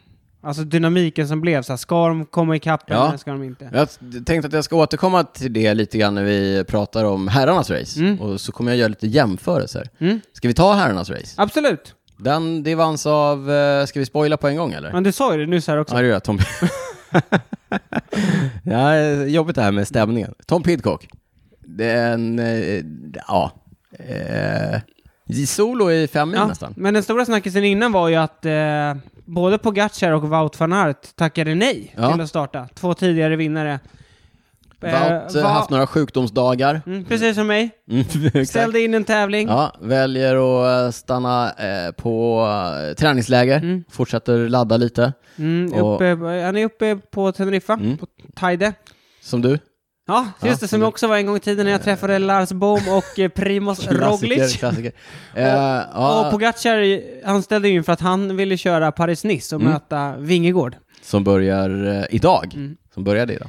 [SPEAKER 2] alltså dynamiken som blev. Så här, ska de komma ikapp
[SPEAKER 1] Ja.
[SPEAKER 2] eller ska de inte?
[SPEAKER 1] Jag tänkte att jag ska återkomma till det lite grann när vi pratar om herrarnas race,
[SPEAKER 2] Mm.
[SPEAKER 1] och så kommer jag göra lite jämförelser.
[SPEAKER 2] Mm.
[SPEAKER 1] Ska vi ta herrarnas race?
[SPEAKER 2] Absolut.
[SPEAKER 1] Den, det vanns av, eh, ska vi spoila på en gång eller?
[SPEAKER 2] Men du sa ju det nyss här också.
[SPEAKER 1] Ja, det gör jag. Tom... ja, eh, jobbigt det här med stämningen. Tom Pidcock. Det är en, eh, ja, eh, solo i fem mil
[SPEAKER 2] Ja,
[SPEAKER 1] nästan.
[SPEAKER 2] Men den stora snackisen innan var ju att eh, både Pogacar och Wout van Aert tackade nej
[SPEAKER 1] Ja.
[SPEAKER 2] till att starta. Två tidigare vinnare. Eh,
[SPEAKER 1] Wout har
[SPEAKER 2] Va-
[SPEAKER 1] haft några sjukdomsdagar.
[SPEAKER 2] Mm, precis som mig.
[SPEAKER 1] Mm, exakt.
[SPEAKER 2] Ställde in en tävling.
[SPEAKER 1] Ja, väljer att eh, stanna eh, på eh, träningsläger,
[SPEAKER 2] Mm.
[SPEAKER 1] fortsätter ladda lite,
[SPEAKER 2] Mm,
[SPEAKER 1] Och-
[SPEAKER 2] uppe, han är uppe på Teneriffa,
[SPEAKER 1] Mm.
[SPEAKER 2] på Taide.
[SPEAKER 1] som du.
[SPEAKER 2] Ja, just
[SPEAKER 1] Ja,
[SPEAKER 2] det, som
[SPEAKER 1] det-
[SPEAKER 2] jag också var en gång i tiden när jag träffade Lars Bohm och eh, Primoz Roglic.
[SPEAKER 1] klassiker. Eh, ja,
[SPEAKER 2] Och Pogacar, han ställde in för att han ville köra Paris-Nice och
[SPEAKER 1] Mm.
[SPEAKER 2] möta Vingegård.
[SPEAKER 1] Som börjar eh, idag.
[SPEAKER 2] Mm.
[SPEAKER 1] Som började idag.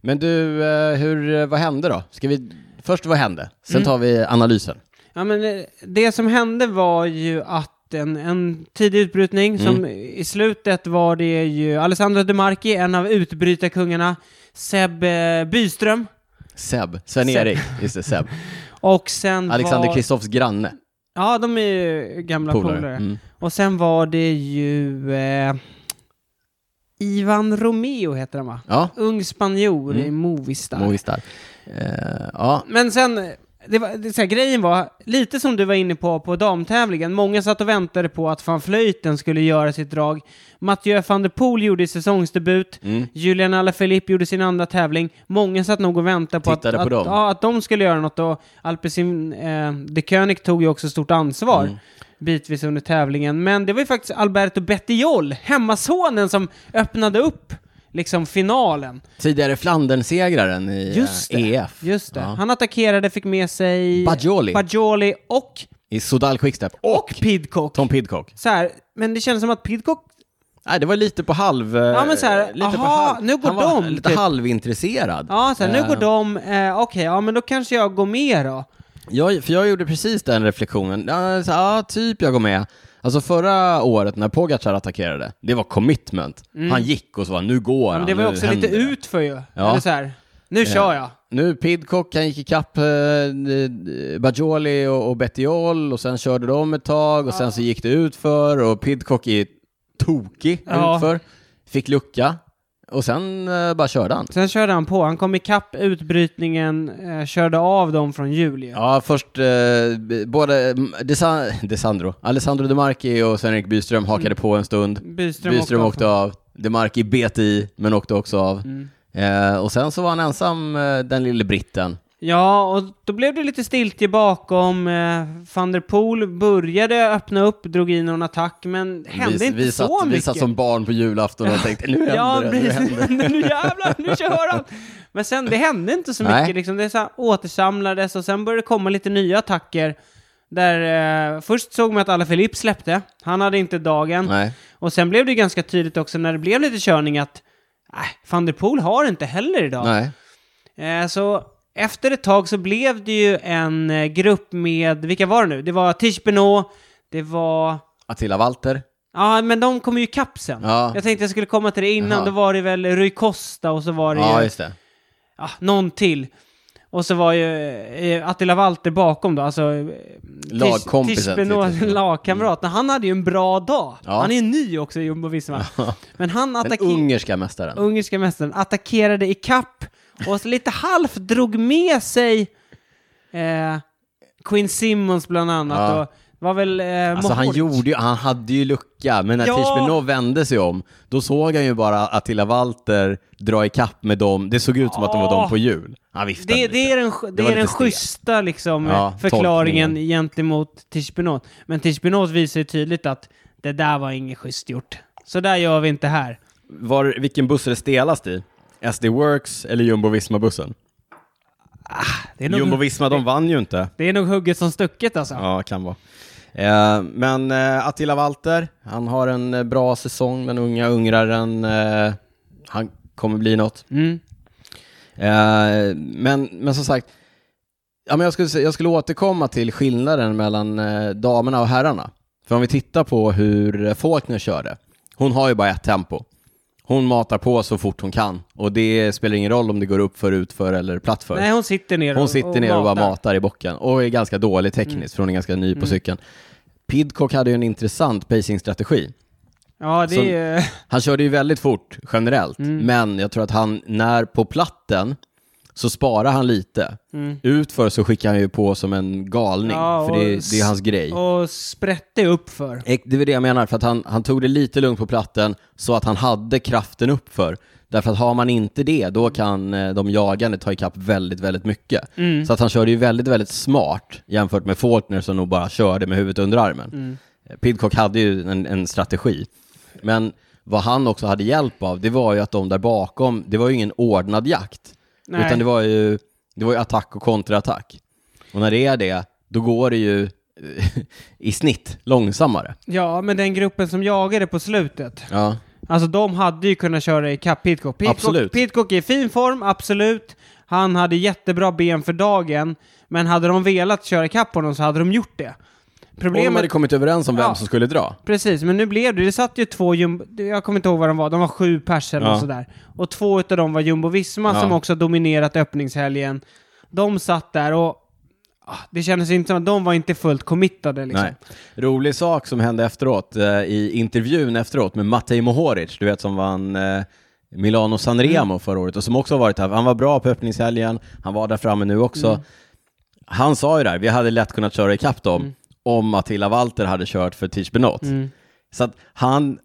[SPEAKER 1] Men du, eh, hur, eh, vad hände då? Ska vi, först vad hände, sen
[SPEAKER 2] Mm.
[SPEAKER 1] tar vi analysen.
[SPEAKER 2] Ja, men eh, det som hände var ju att en, en tidig utbrytning,
[SPEAKER 1] Mm.
[SPEAKER 2] som i slutet var det ju Alessandro De Marchi, en av utbrytarkungarna, Seb eh, Byström
[SPEAKER 1] Seb, Sven-Erik, just det, Seb.
[SPEAKER 2] och sen
[SPEAKER 1] Alexander
[SPEAKER 2] var...
[SPEAKER 1] Kristoffs granne,
[SPEAKER 2] Ja, de är ju gamla polare.
[SPEAKER 1] polare. Mm.
[SPEAKER 2] Och sen var det ju eh, Ivan Romeo heter han va?
[SPEAKER 1] Ja,
[SPEAKER 2] Ung spanjor i
[SPEAKER 1] Mm.
[SPEAKER 2] Movistar.
[SPEAKER 1] Movistar. Eh, ja,
[SPEAKER 2] Men sen, det var, det, så här, grejen var, lite som du var inne på på damtävlingen, många satt och väntade på att van Vleuten skulle göra sitt drag. Mathieu van der Poel gjorde säsongsdebut,
[SPEAKER 1] Mm.
[SPEAKER 2] Julian Alaphilippe gjorde sin andra tävling. Många satt nog och väntade på, att,
[SPEAKER 1] Tittade på
[SPEAKER 2] att,
[SPEAKER 1] dem.
[SPEAKER 2] Ja, att de skulle göra något och Alpecin eh, de König tog ju också stort ansvar.
[SPEAKER 1] Mm.
[SPEAKER 2] bitvis under tävlingen, men det var ju faktiskt Alberto Bettiol, hemmasonen, som öppnade upp liksom finalen.
[SPEAKER 1] tidigare Flandernsegraren i eh,
[SPEAKER 2] Just det.
[SPEAKER 1] EF.
[SPEAKER 2] Just det.
[SPEAKER 1] Ja.
[SPEAKER 2] Han attackerade, fick med sig
[SPEAKER 1] Bajoli.
[SPEAKER 2] Bajoli och,
[SPEAKER 1] I Sodal Quickstep. Och,
[SPEAKER 2] och Pidcock.
[SPEAKER 1] Tom Pidcock.
[SPEAKER 2] Så här, men det kändes som att Pidcock,
[SPEAKER 1] Nej, det var lite på halv... eh,
[SPEAKER 2] Ja, men så här,
[SPEAKER 1] lite på
[SPEAKER 2] aha,
[SPEAKER 1] halv,
[SPEAKER 2] nu går
[SPEAKER 1] han var
[SPEAKER 2] de,
[SPEAKER 1] lite
[SPEAKER 2] typ.
[SPEAKER 1] halvintresserad.
[SPEAKER 2] ja så här,
[SPEAKER 1] Eh,
[SPEAKER 2] nu går de, eh, okej, ja men då kanske jag går med då.
[SPEAKER 1] Jag, för jag gjorde precis den reflektionen. Ja, så, ja, typ jag går med. Alltså förra året när Pogacar attackerade, det var commitment. Han gick och så var nu går
[SPEAKER 2] Mm. Men
[SPEAKER 1] han.
[SPEAKER 2] det var ju
[SPEAKER 1] nu
[SPEAKER 2] också lite
[SPEAKER 1] händer det.
[SPEAKER 2] utför ju.
[SPEAKER 1] Ja.
[SPEAKER 2] Eller så här, nu kör jag.
[SPEAKER 1] Nu Pidcock, han gick ikapp eh, eh, Bajoli och, och Bettiol och sen körde de ett tag och sen så gick det ut för och Pidcock är tokig
[SPEAKER 2] Ja.
[SPEAKER 1] utför. Fick lucka och sen eh, bara körde han.
[SPEAKER 2] Sen körde han på. Han kom ikapp utbrytningen, eh, körde av dem från jul ju.
[SPEAKER 1] Ja, först eh, b- både mm, Desa, Desandro, Alessandro DeMarchi och Sven-Erik Byström hakade
[SPEAKER 2] Mm.
[SPEAKER 1] på en stund.
[SPEAKER 2] Byström,
[SPEAKER 1] Byström åkte
[SPEAKER 2] av. Mm.
[SPEAKER 1] av. DeMarchi bet i, men åkte också av. Eh, och sen så var han ensam, eh, den lille britten.
[SPEAKER 2] Ja, och då blev det lite stiltje bakom. Eh, van der Poel började öppna upp, drog in någon attack, men hände
[SPEAKER 1] Vi-
[SPEAKER 2] inte
[SPEAKER 1] vi
[SPEAKER 2] så
[SPEAKER 1] satt,
[SPEAKER 2] mycket.
[SPEAKER 1] Vi satt som barn på julafton och tänkte nu händer
[SPEAKER 2] Ja,
[SPEAKER 1] det, nu
[SPEAKER 2] precis.
[SPEAKER 1] händer det.
[SPEAKER 2] nu jävlar, nu kör han! Men sen, det hände inte så
[SPEAKER 1] Nej.
[SPEAKER 2] mycket. Liksom. Det så här, återsamlades och sen började det komma lite nya attacker. Där, eh, först såg man att Alaphilippe släppte. Han hade inte dagen.
[SPEAKER 1] Nej.
[SPEAKER 2] Och sen blev det ju ganska tydligt också när det blev lite körning att äh, van der Poel har inte heller idag.
[SPEAKER 1] Nej.
[SPEAKER 2] Eh, så efter ett tag så blev det ju en eh, grupp med, vilka var det nu? Det var Tish Benoit, det var...
[SPEAKER 1] Attila Walter.
[SPEAKER 2] Ja, men de kom ju i kapp sen.
[SPEAKER 1] Ja.
[SPEAKER 2] Jag tänkte jag skulle komma till det innan.
[SPEAKER 1] Jaha.
[SPEAKER 2] Då var det väl Rui Costa och så var det
[SPEAKER 1] Ja,
[SPEAKER 2] ju,
[SPEAKER 1] just det.
[SPEAKER 2] ja, någon till. Och så var ju eh, Attila Walter bakom då, alltså... eh, Tish-
[SPEAKER 1] Lagkompisen
[SPEAKER 2] Tish
[SPEAKER 1] till
[SPEAKER 2] Benoit,
[SPEAKER 1] Tish Benoit.
[SPEAKER 2] lagkamrat. Han hade ju en bra dag.
[SPEAKER 1] Ja.
[SPEAKER 2] Han är ju ny också i Jumbo-Visma. Men han
[SPEAKER 1] Den
[SPEAKER 2] attackerade...
[SPEAKER 1] ungerska mästaren.
[SPEAKER 2] ungerska mästaren attackerade i kapp och så lite halvt drog med sig eh, Quinn Simmons bland annat.
[SPEAKER 1] Ja.
[SPEAKER 2] Och var väl, eh,
[SPEAKER 1] Alltså han
[SPEAKER 2] Mohoric.
[SPEAKER 1] gjorde ju, han hade ju lucka, men när
[SPEAKER 2] Ja.
[SPEAKER 1] ja. Tichbenov vände sig om, då såg han ju bara Attila Walter dra i kapp med dem. Det såg ut som att de var
[SPEAKER 2] Ja.
[SPEAKER 1] dem på jul. Han viftade
[SPEAKER 2] det,
[SPEAKER 1] lite.
[SPEAKER 2] det är den, sch- det
[SPEAKER 1] var
[SPEAKER 2] är
[SPEAKER 1] lite
[SPEAKER 2] den
[SPEAKER 1] stelt.
[SPEAKER 2] schyssta liksom,
[SPEAKER 1] Ja,
[SPEAKER 2] eh, förklaringen
[SPEAKER 1] tolkningen.
[SPEAKER 2] gentemot Tichbinot. Men Tichbinot visar ju tydligt att det där var inget schysst gjort. Så där gör vi inte här.
[SPEAKER 1] Var, vilken buss är det stelast i? SD Works eller Jumbo Visma-bussen?
[SPEAKER 2] Det är nog,
[SPEAKER 1] Jumbo Visma, de vann ju inte.
[SPEAKER 2] det är nog hugget som stucket alltså.
[SPEAKER 1] Ja, kan vara. Eh, men eh, Attila Walter, han har en eh, bra säsong, den unga ungraren. Eh, han kommer bli något.
[SPEAKER 2] Mm.
[SPEAKER 1] Eh, men, men som sagt, ja, men jag, skulle, sä- jag skulle återkomma till skillnaden mellan eh, damerna och herrarna. För om vi tittar på hur eh, Faulkner körde, hon har ju bara ett tempo. Hon matar på så fort hon kan och det spelar ingen roll om det går upp för, ut för eller platt för.
[SPEAKER 2] Nej, hon sitter ner
[SPEAKER 1] Hon
[SPEAKER 2] och,
[SPEAKER 1] sitter ner och bara matar i bocken och är ganska dålig tekniskt för hon är ganska ny på cykeln. Pidcock hade ju en intressant pacingstrategi.
[SPEAKER 2] Ja, det
[SPEAKER 1] Så-
[SPEAKER 2] är ju...
[SPEAKER 1] Han körde ju väldigt fort generellt, men jag tror att han, när på platten, så sparar han lite. Utför så skickar han ju på som en galning,
[SPEAKER 2] Ja,
[SPEAKER 1] för det,
[SPEAKER 2] och
[SPEAKER 1] det är hans grej.
[SPEAKER 2] Och sprätte upp för.
[SPEAKER 1] Ek- Det är det jag menar, för att han, han tog det lite lugnt på platten så att han hade kraften uppför. Därför att har man inte det, då kan eh, de jagande ta ikapp väldigt, väldigt mycket.
[SPEAKER 2] Mm.
[SPEAKER 1] Så att han körde ju väldigt, väldigt smart jämfört med Faulkner som nog bara körde med huvudet under armen.
[SPEAKER 2] Mm.
[SPEAKER 1] Eh, Pidcock hade ju en, en strategi. Men vad han också hade hjälp av, det var ju att de där bakom, det var ju ingen ordnad jakt.
[SPEAKER 2] Nej.
[SPEAKER 1] Utan det var ju, det var ju attack och kontraattack. Och när det är det, då går det ju eh, i snitt långsammare.
[SPEAKER 2] Ja, men den gruppen som jagade på slutet.
[SPEAKER 1] Ja.
[SPEAKER 2] Alltså de hade ju kunnat köra i kapp Pidcock. Pidcock,
[SPEAKER 1] Absolut.
[SPEAKER 2] Pidcock är i fin form, absolut. Han hade jättebra ben för dagen. Men hade de velat köra i kapp honom så hade de gjort det.
[SPEAKER 1] Och de
[SPEAKER 2] Problemet...
[SPEAKER 1] hade kommit överens om vem
[SPEAKER 2] Ja.
[SPEAKER 1] som skulle dra.
[SPEAKER 2] Precis, men nu blev det... Det satt ju två jumbo... Jag kommer inte ihåg vad de var. De var sju pers eller
[SPEAKER 1] Ja.
[SPEAKER 2] något sådär. Och två utav dem var jumbo-visma
[SPEAKER 1] Ja.
[SPEAKER 2] som också dominerat öppningshelgen. De satt där och... ah, Det kändes inte som att de var inte fullt committade liksom.
[SPEAKER 1] Nej. Rolig sak som hände efteråt, eh, i intervjun efteråt med Matej Mohoric, du vet som vann eh, Milano Sanremo
[SPEAKER 2] Mm.
[SPEAKER 1] förra året och som också har varit här. Han var bra på öppningshelgen, han var där framme nu också.
[SPEAKER 2] Mm.
[SPEAKER 1] Han sa ju där, vi hade lätt kunnat köra ikapp dem
[SPEAKER 2] Mm.
[SPEAKER 1] om Attila Walter hade kört för Tish Benot. Så att han,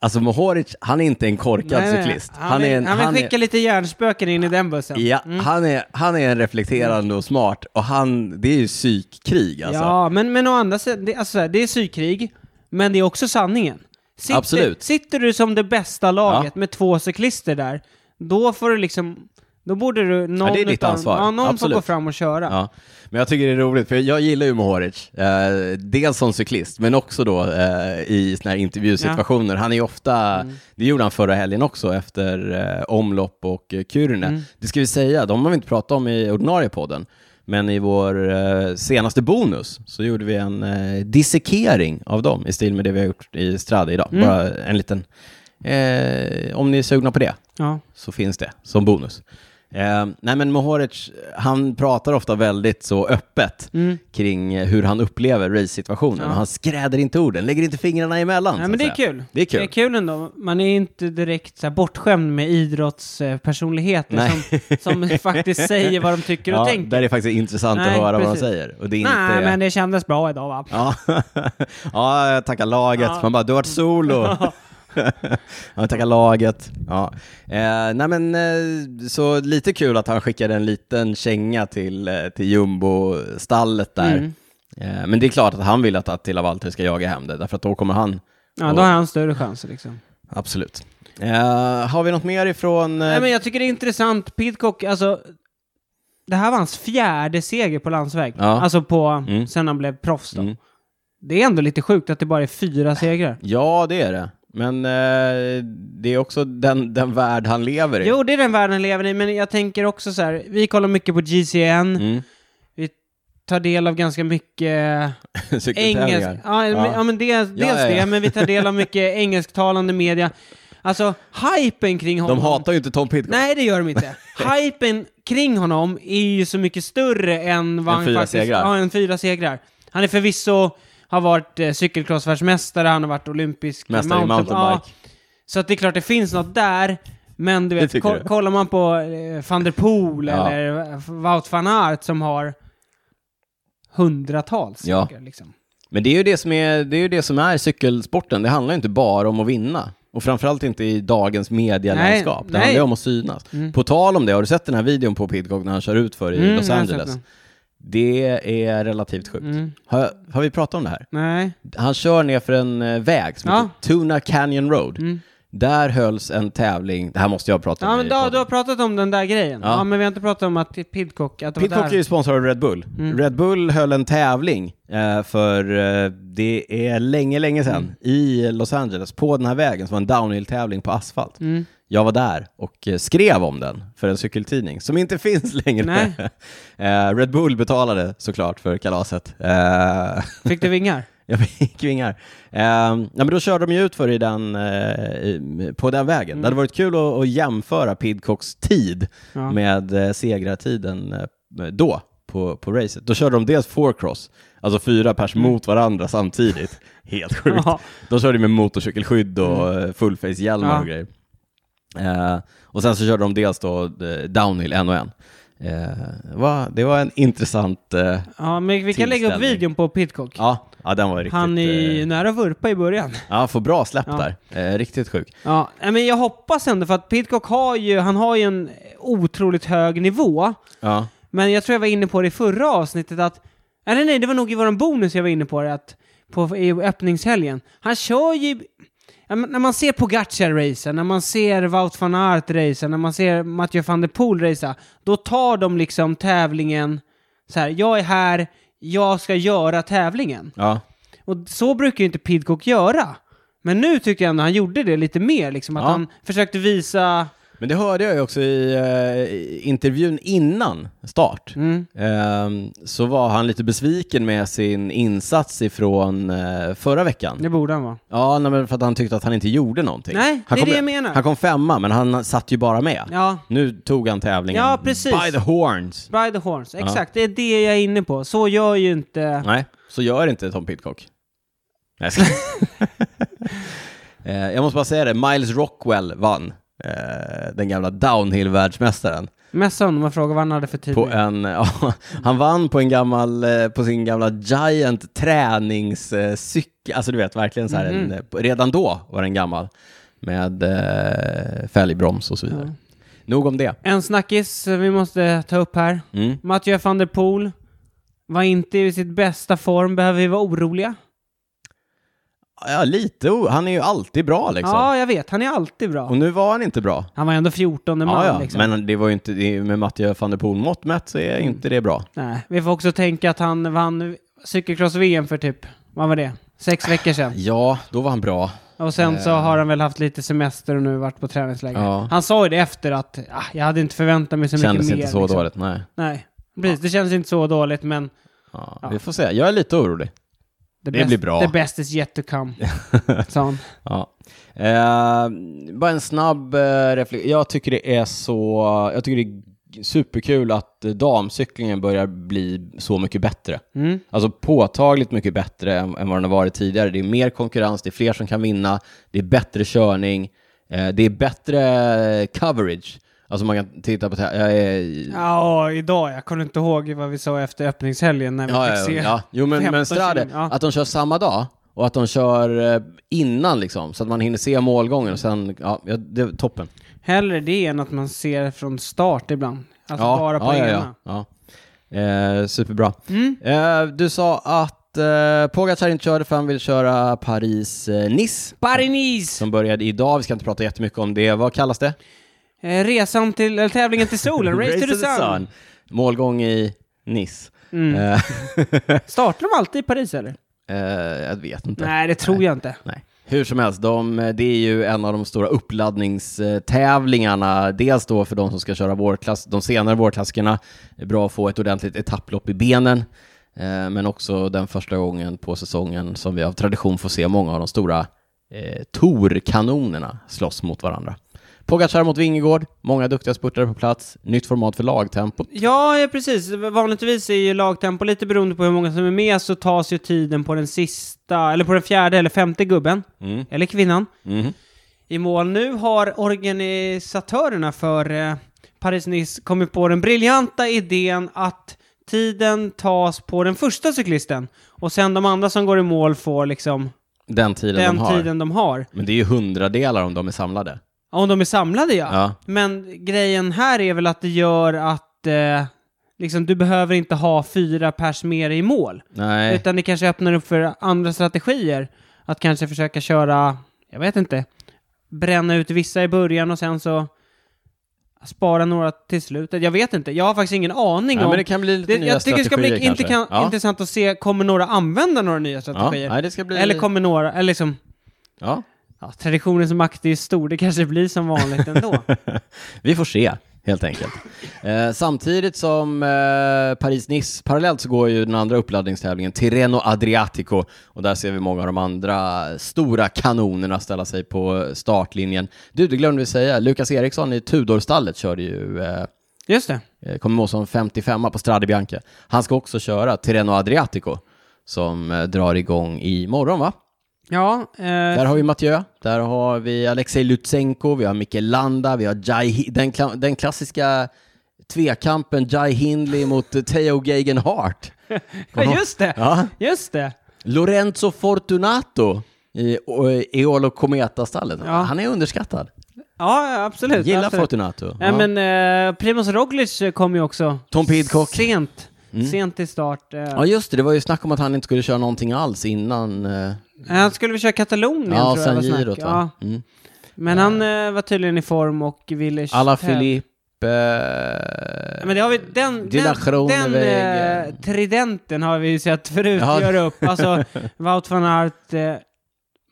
[SPEAKER 1] alltså Mohoric, han är inte en korkad
[SPEAKER 2] Nej, nej.
[SPEAKER 1] cyklist.
[SPEAKER 2] Han, vill,
[SPEAKER 1] en-
[SPEAKER 2] han Mm. vill
[SPEAKER 1] han är-
[SPEAKER 2] skicka lite hjärnspöken in i den bussen.
[SPEAKER 1] Ja, han, är, han är en reflekterande och smart och han, det är ju psykkrig alltså.
[SPEAKER 2] Ja, men, men å andra sidan, det, alltså, så här, det är psykkrig, men det är också sanningen. Sitter,
[SPEAKER 1] Absolut.
[SPEAKER 2] Sitter du som det bästa laget med två cyklister där, då får du liksom, då borde du, någon,
[SPEAKER 1] det är ditt
[SPEAKER 2] utav-
[SPEAKER 1] ansvar.
[SPEAKER 2] Ja, någon får
[SPEAKER 1] Absolut.
[SPEAKER 2] gå fram och köra.
[SPEAKER 1] Ja. Men jag tycker det är roligt, för jag gillar ju Mohoric, eh, dels som cyklist, men också då eh, i såna här intervjusituationer. Han är ju ofta, det gjorde han förra helgen också, efter eh, omlopp och eh, Kyrne. Det ska vi säga, de har vi inte pratat om i ordinarie podden, Men i vår eh, senaste bonus så gjorde vi en eh, dissekering av dem i stil med det vi har gjort i Strade idag.
[SPEAKER 2] Mm.
[SPEAKER 1] Bara en liten... Eh, om ni är sugna på det
[SPEAKER 2] Ja.
[SPEAKER 1] så finns det som bonus. Eh, nej men Mohoric, han pratar ofta väldigt så öppet
[SPEAKER 2] Mm.
[SPEAKER 1] kring eh, hur han upplever race-situationen.
[SPEAKER 2] Ja.
[SPEAKER 1] Och Han skräder inte orden, lägger inte fingrarna emellan. så
[SPEAKER 2] Nej,
[SPEAKER 1] att
[SPEAKER 2] men det är
[SPEAKER 1] säga.
[SPEAKER 2] kul.
[SPEAKER 1] Det är kul.
[SPEAKER 2] Det är kul ändå. Man är inte direkt så här bortskämd med idrottspersonligheter som, som faktiskt säger vad de tycker och
[SPEAKER 1] Ja,
[SPEAKER 2] tänker.
[SPEAKER 1] där är det faktiskt intressant
[SPEAKER 2] Nej,
[SPEAKER 1] att höra vad
[SPEAKER 2] precis.
[SPEAKER 1] han säger. Och det är
[SPEAKER 2] Nej,
[SPEAKER 1] inte...
[SPEAKER 2] men det kändes bra idag va?
[SPEAKER 1] Ja, ja jag tackar laget.
[SPEAKER 2] Ja.
[SPEAKER 1] Man bara, du har varit solo. Ja, tackar laget. Ja. Eh, nej men, eh, så lite kul att han skickade en liten känga till, eh, till jumbo-stallet där.
[SPEAKER 2] Mm.
[SPEAKER 1] Eh, men det är klart att han vill att Attila Walter ska jaga hem det, därför att då kommer han.
[SPEAKER 2] Ja, då har han större chanser liksom.
[SPEAKER 1] Absolut. Eh, har vi något mer ifrån... eh,
[SPEAKER 2] Nej, men jag tycker det är intressant. Pidcock, alltså. Det här var hans fjärde seger på landsväg.
[SPEAKER 1] Ja.
[SPEAKER 2] Alltså på,
[SPEAKER 1] Mm.
[SPEAKER 2] sen han blev proffs då.
[SPEAKER 1] Mm.
[SPEAKER 2] Det är ändå lite sjukt att det bara är fyra segrar.
[SPEAKER 1] Ja, det är det. Men eh, det är också den, den värld han lever i.
[SPEAKER 2] Jo, det är den världen han lever i, men jag tänker också så här, vi kollar mycket på GCN,
[SPEAKER 1] Mm.
[SPEAKER 2] vi tar del av ganska mycket engelsk...
[SPEAKER 1] Cykeltävlingar.
[SPEAKER 2] Ja, men- ja, men det, dels
[SPEAKER 1] ja, ja.
[SPEAKER 2] det, men vi tar del av mycket engelsktalande media. Alltså, hypen kring honom...
[SPEAKER 1] De hatar ju inte Tom Pidcock.
[SPEAKER 2] Nej, det gör de inte. Hypen kring honom är ju så mycket större än vad
[SPEAKER 1] Än
[SPEAKER 2] han
[SPEAKER 1] fyra
[SPEAKER 2] faktiskt...
[SPEAKER 1] segrar.
[SPEAKER 2] Ja, än fyra segrar. Han är förvisso... Har varit eh, cykelcrossvärldsmästare, han har varit olympisk
[SPEAKER 1] Mästare i
[SPEAKER 2] mountain-
[SPEAKER 1] mountainbike.
[SPEAKER 2] Ja, så att det är klart det finns något där, men du vet,
[SPEAKER 1] tycker
[SPEAKER 2] ko-
[SPEAKER 1] du?
[SPEAKER 2] kollar man på eh, van der Poel
[SPEAKER 1] Ja.
[SPEAKER 2] eller Wout van Aert som har hundratals
[SPEAKER 1] Ja.
[SPEAKER 2] saker liksom.
[SPEAKER 1] Men det är ju det som är, det är, ju det som är cykelsporten. Det handlar ju inte bara om att vinna. Och framförallt inte i dagens medialandskap. det
[SPEAKER 2] Nej, nej.
[SPEAKER 1] handlar ju om att synas. På tal om det, har du sett den här videon på Pidcock när han kör ut för i
[SPEAKER 2] Mm,
[SPEAKER 1] Los
[SPEAKER 2] jag har sett
[SPEAKER 1] Angeles?
[SPEAKER 2] den.
[SPEAKER 1] Det är relativt sjukt.
[SPEAKER 2] Mm.
[SPEAKER 1] Har, har vi pratat om det här?
[SPEAKER 2] Nej.
[SPEAKER 1] Han kör ner för en eh, väg som
[SPEAKER 2] Ja.
[SPEAKER 1] heter Tuna Canyon Road.
[SPEAKER 2] Mm.
[SPEAKER 1] Där hölls en tävling, det här måste jag prata om
[SPEAKER 2] Ja,
[SPEAKER 1] i
[SPEAKER 2] men då,
[SPEAKER 1] podden.
[SPEAKER 2] du har pratat om den där grejen. Ja.
[SPEAKER 1] Ja.
[SPEAKER 2] men vi har inte pratat om att Pidcock, att det var
[SPEAKER 1] Pidcock
[SPEAKER 2] där.
[SPEAKER 1] är ju sponsor av Red Bull. Red Bull höll en tävling eh, för eh, det är länge, länge sedan i Los Angeles på den här vägen som var en downhill-tävling på asfalt.
[SPEAKER 2] Mm.
[SPEAKER 1] Jag var där och eh, skrev om den för en cykeltidning som inte finns längre. eh, Red Bull betalade såklart för kalaset. Eh,
[SPEAKER 2] Fick du vingar?
[SPEAKER 1] jag fick vingar. Eh, ja, men då körde de ju ut för i den, eh, i- på den vägen. Det hade varit kul att, att jämföra Pidcocks tid
[SPEAKER 2] Ja.
[SPEAKER 1] med eh, segrartiden eh, då på, på racet. Då körde de dels fourcross, alltså fyra pers mot varandra samtidigt. Helt sjukt.
[SPEAKER 2] Mm. Ja.
[SPEAKER 1] De körde med motorcykelskydd och mm. fullface-hjälmar
[SPEAKER 2] Ja.
[SPEAKER 1] och grejer. Eh, och sen så körde de dels då eh, downhill en och en. Eh, va, det var en intressant... Eh,
[SPEAKER 2] ja, men vi kan lägga upp
[SPEAKER 1] Tillställning.
[SPEAKER 2] videon på Pidcock.
[SPEAKER 1] ja, ja, den var riktigt...
[SPEAKER 2] Han är ju
[SPEAKER 1] eh,
[SPEAKER 2] nära att vurpa i början.
[SPEAKER 1] ja, får bra släpp
[SPEAKER 2] Ja.
[SPEAKER 1] där. Eh, riktigt sjuk.
[SPEAKER 2] Ja, nej, men jag hoppas ändå för att Pidcock har ju, han har ju en otroligt hög nivå.
[SPEAKER 1] Ja.
[SPEAKER 2] Men jag tror jag var inne på det i förra avsnittet att, eller nej, det var nog i våran bonus jag var inne på det, att på i öppningshelgen. Han kör ju, ja, men när man ser Pogacar-racen, när man ser Wout van Aert-racen, när man ser Mathieu van der Poel racea, då tar de liksom tävlingen så här, jag är här, jag ska göra tävlingen.
[SPEAKER 1] Ja.
[SPEAKER 2] Och så brukar ju inte Pidcock göra. Men nu tycker jag ändå han gjorde det lite mer, liksom att
[SPEAKER 1] Ja.
[SPEAKER 2] han försökte visa...
[SPEAKER 1] Men det hörde jag ju också i eh, i intervjun innan start.
[SPEAKER 2] Mm.
[SPEAKER 1] Ehm, så var han lite besviken med sin insats ifrån eh, förra veckan.
[SPEAKER 2] Det borde han vara.
[SPEAKER 1] Ja, nej, men för att han tyckte att han inte gjorde någonting.
[SPEAKER 2] Nej,
[SPEAKER 1] han
[SPEAKER 2] det är
[SPEAKER 1] kom,
[SPEAKER 2] det jag menar.
[SPEAKER 1] Han kom femma, men han satt ju bara med.
[SPEAKER 2] Ja,
[SPEAKER 1] Nu tog han tävlingen
[SPEAKER 2] Ja, precis.
[SPEAKER 1] by the horns.
[SPEAKER 2] by the horns. Exakt, det är det jag är inne på. Så gör ju inte...
[SPEAKER 1] Nej, så gör inte Tom Pidcock. Nej, jag ska... Eh, Jag måste bara säga det, Miles Rockwell vann. eh, Den gamla downhill-världsmästaren.
[SPEAKER 2] Messa honom och fråga vad han hade för tid.
[SPEAKER 1] På en, ja, han vann på, en gammal, eh, på sin gamla Giant träningscykel. Alltså du vet, verkligen så här en,
[SPEAKER 2] Mm-hmm.
[SPEAKER 1] eh, redan då var den gammal. Med eh, fälgbroms och så vidare. Nog om det.
[SPEAKER 2] En snackis vi måste ta upp här.
[SPEAKER 1] Mm.
[SPEAKER 2] Mathieu van der Poel var inte i sitt bästa form. Behöver vi vara oroliga?
[SPEAKER 1] Ja, lite. o- Han är ju alltid bra liksom.
[SPEAKER 2] Ja, jag vet. Han är alltid bra.
[SPEAKER 1] Och nu var han inte bra.
[SPEAKER 2] Han var ändå 14 man
[SPEAKER 1] Ja, ja.
[SPEAKER 2] liksom. Mm.
[SPEAKER 1] Men det var ju inte, det, med Mattias van der Poel-mått mätt så är inte det bra.
[SPEAKER 2] Nej, vi får också tänka att han vann cykelcross-VM för typ, vad var det? Sex veckor sedan.
[SPEAKER 1] Ja, då var han bra.
[SPEAKER 2] Och sen så har han väl haft lite semester och nu varit på träningsläger.
[SPEAKER 1] Eh. Ja.
[SPEAKER 2] Han sa ju det efter att, ah, jag hade inte förväntat mig så
[SPEAKER 1] Kändes
[SPEAKER 2] mycket mer.
[SPEAKER 1] inte så
[SPEAKER 2] liksom.
[SPEAKER 1] dåligt, nej.
[SPEAKER 2] Nej. Precis, det känns inte så dåligt men
[SPEAKER 3] Ja,
[SPEAKER 2] Ja.
[SPEAKER 3] Vi får se. Jag är lite orolig.
[SPEAKER 2] the
[SPEAKER 3] Det blir bra.
[SPEAKER 2] The best is yet to come. sa han.
[SPEAKER 3] Ja.
[SPEAKER 1] Eh, bara en snabb eh, reflek- Jag tycker det är så... Jag tycker det är superkul att eh, damcyklingen börjar bli så mycket bättre.
[SPEAKER 2] Mm.
[SPEAKER 1] Alltså påtagligt mycket bättre än, än vad den har varit tidigare. Det är mer konkurrens, det är fler som kan vinna, det är bättre körning, eh, det är bättre coverage. Alltså man kan titta på... tä- Jag är,
[SPEAKER 2] Ja, idag. Jag kommer inte ihåg vad vi sa efter öppningshelgen när vi
[SPEAKER 1] Ja,
[SPEAKER 2] fick
[SPEAKER 1] ja,
[SPEAKER 2] se.
[SPEAKER 1] ja. Jo, men,
[SPEAKER 2] 15
[SPEAKER 1] men Strade,
[SPEAKER 2] kilo, ja.
[SPEAKER 1] att de kör samma dag och att de kör eh, innan liksom, så att man hinner se målgången och sen, ja, ja, det är toppen.
[SPEAKER 2] Hellre det än att man ser från start ibland. Alltså
[SPEAKER 1] ja,
[SPEAKER 2] bara på
[SPEAKER 1] ja,
[SPEAKER 2] ena. Mm.
[SPEAKER 1] ja, ja, ja. Eh, Superbra. Eh, du sa att eh, Pogacar inte körde för han vill köra Paris-Nice,
[SPEAKER 2] Barinis!
[SPEAKER 1] som började idag. Vi ska inte prata jättemycket om det. Vad kallas det?
[SPEAKER 2] Eh, resan till, eller tävlingen till solen, Race, to the sun.
[SPEAKER 1] Målgång i Nice.
[SPEAKER 2] Mm.
[SPEAKER 1] Eh,
[SPEAKER 2] Startar de alltid i Paris eller?
[SPEAKER 1] eh, jag vet inte.
[SPEAKER 2] Nej, det tror jag inte.
[SPEAKER 1] Nej. Hur som helst, de, eh, det är ju en av de stora uppladdningstävlingarna. Dels då för de som ska köra vårklass, de senare vårklassikerna. Det är bra att få ett ordentligt etapplopp i benen. Eh, Men också den första gången på säsongen som vi av tradition får se många av de stora eh, Tor-kanonerna slåss mot varandra. Pogacar mot Vingegård, många duktiga spurtare på plats, nytt format för lagtempo.
[SPEAKER 2] Ja, ja, precis. Vanligtvis är ju lagtempo lite beroende på hur många som är med så tas ju tiden på den sista, eller på den fjärde eller femte gubben,
[SPEAKER 1] Mm.
[SPEAKER 2] eller kvinnan,
[SPEAKER 1] Mhm.
[SPEAKER 2] i mål. Nu har organisatörerna för eh, Paris-Nice kommit på den briljanta idén att tiden tas på den första cyklisten och sen de andra som går i mål får liksom
[SPEAKER 1] Den tiden
[SPEAKER 2] den
[SPEAKER 1] de har.
[SPEAKER 2] tiden de har.
[SPEAKER 1] Men det är ju hundradelar om de är samlade.
[SPEAKER 2] Om de är samlade ja.
[SPEAKER 1] Ja.
[SPEAKER 2] Men grejen här är väl att det gör att eh, liksom, du behöver inte ha fyra pers mer i mål.
[SPEAKER 1] Nej.
[SPEAKER 2] Utan det kanske öppnar upp för andra strategier. Att kanske försöka köra, jag vet inte, bränna ut vissa i början och sen så spara några till slutet. Jag vet inte, jag har faktiskt ingen aning
[SPEAKER 1] Nej,
[SPEAKER 2] om...
[SPEAKER 1] men det kan bli lite nya
[SPEAKER 2] jag tycker det ska bli
[SPEAKER 1] strategier
[SPEAKER 2] inte
[SPEAKER 1] kanske.
[SPEAKER 2] kan,
[SPEAKER 1] Ja.
[SPEAKER 2] intressant att se, kommer några använda några nya
[SPEAKER 1] Ja,
[SPEAKER 2] strategier?
[SPEAKER 1] nej, det ska bli...
[SPEAKER 2] Eller kommer några, eller liksom,
[SPEAKER 1] ja.
[SPEAKER 2] ja, traditionens makt är ju stor, det kanske blir som vanligt ändå.
[SPEAKER 1] Vi får se, helt enkelt. eh, samtidigt som eh, Paris-Nice, parallellt så går ju den andra uppladdningstävlingen, Tirreno Adriatico, och där ser vi många av de andra stora kanonerna ställa sig på startlinjen. Du, det glömde vi säga, Lukas Eriksson i Tudorstallet körde ju eh,
[SPEAKER 2] Just det.
[SPEAKER 1] Eh, kommer må som 55 på Strade Bianca. Han ska också köra Tirreno Adriatico som eh, drar igång imorgon va?
[SPEAKER 2] Ja, eh,
[SPEAKER 1] Där har vi Mathieu, där har vi Alexej Lutsenko, vi har Micke Landa, vi har Jai, Hi- den, kla- den klassiska tvekampen Jai Hindley mot eh, Theo Geigenhardt.
[SPEAKER 2] Ja, just det!
[SPEAKER 1] Ja.
[SPEAKER 2] Just det!
[SPEAKER 1] Lorenzo Fortunato i o- Eolo Cometa-stallet.
[SPEAKER 2] Ja.
[SPEAKER 1] Han är underskattad.
[SPEAKER 2] Ja, ja, absolut.
[SPEAKER 1] Gillar
[SPEAKER 2] absolut.
[SPEAKER 1] Fortunato.
[SPEAKER 2] Nej, men eh, Primoz Roglic kom ju också.
[SPEAKER 1] Tom Pidcock. Mm.
[SPEAKER 2] Sent. Sent till start. eh.
[SPEAKER 1] Ja just det, det var ju snack om att han inte skulle köra någonting alls innan... eh,
[SPEAKER 2] Han skulle väl köra Katalonien
[SPEAKER 1] Ja,
[SPEAKER 2] tror jag.
[SPEAKER 1] sen
[SPEAKER 2] var snack.
[SPEAKER 1] girot va? Mm.
[SPEAKER 2] Men han eh, var tydligen i form och ville...
[SPEAKER 1] Alla
[SPEAKER 2] tävla.
[SPEAKER 1] Filippe...
[SPEAKER 2] Men det har vi, den,
[SPEAKER 1] Dina
[SPEAKER 2] den, den
[SPEAKER 1] Groenewegen.
[SPEAKER 2] eh, tridenten har vi ju sett förut
[SPEAKER 1] Ja.
[SPEAKER 2] göra upp. Alltså, Wout van Aert, eh,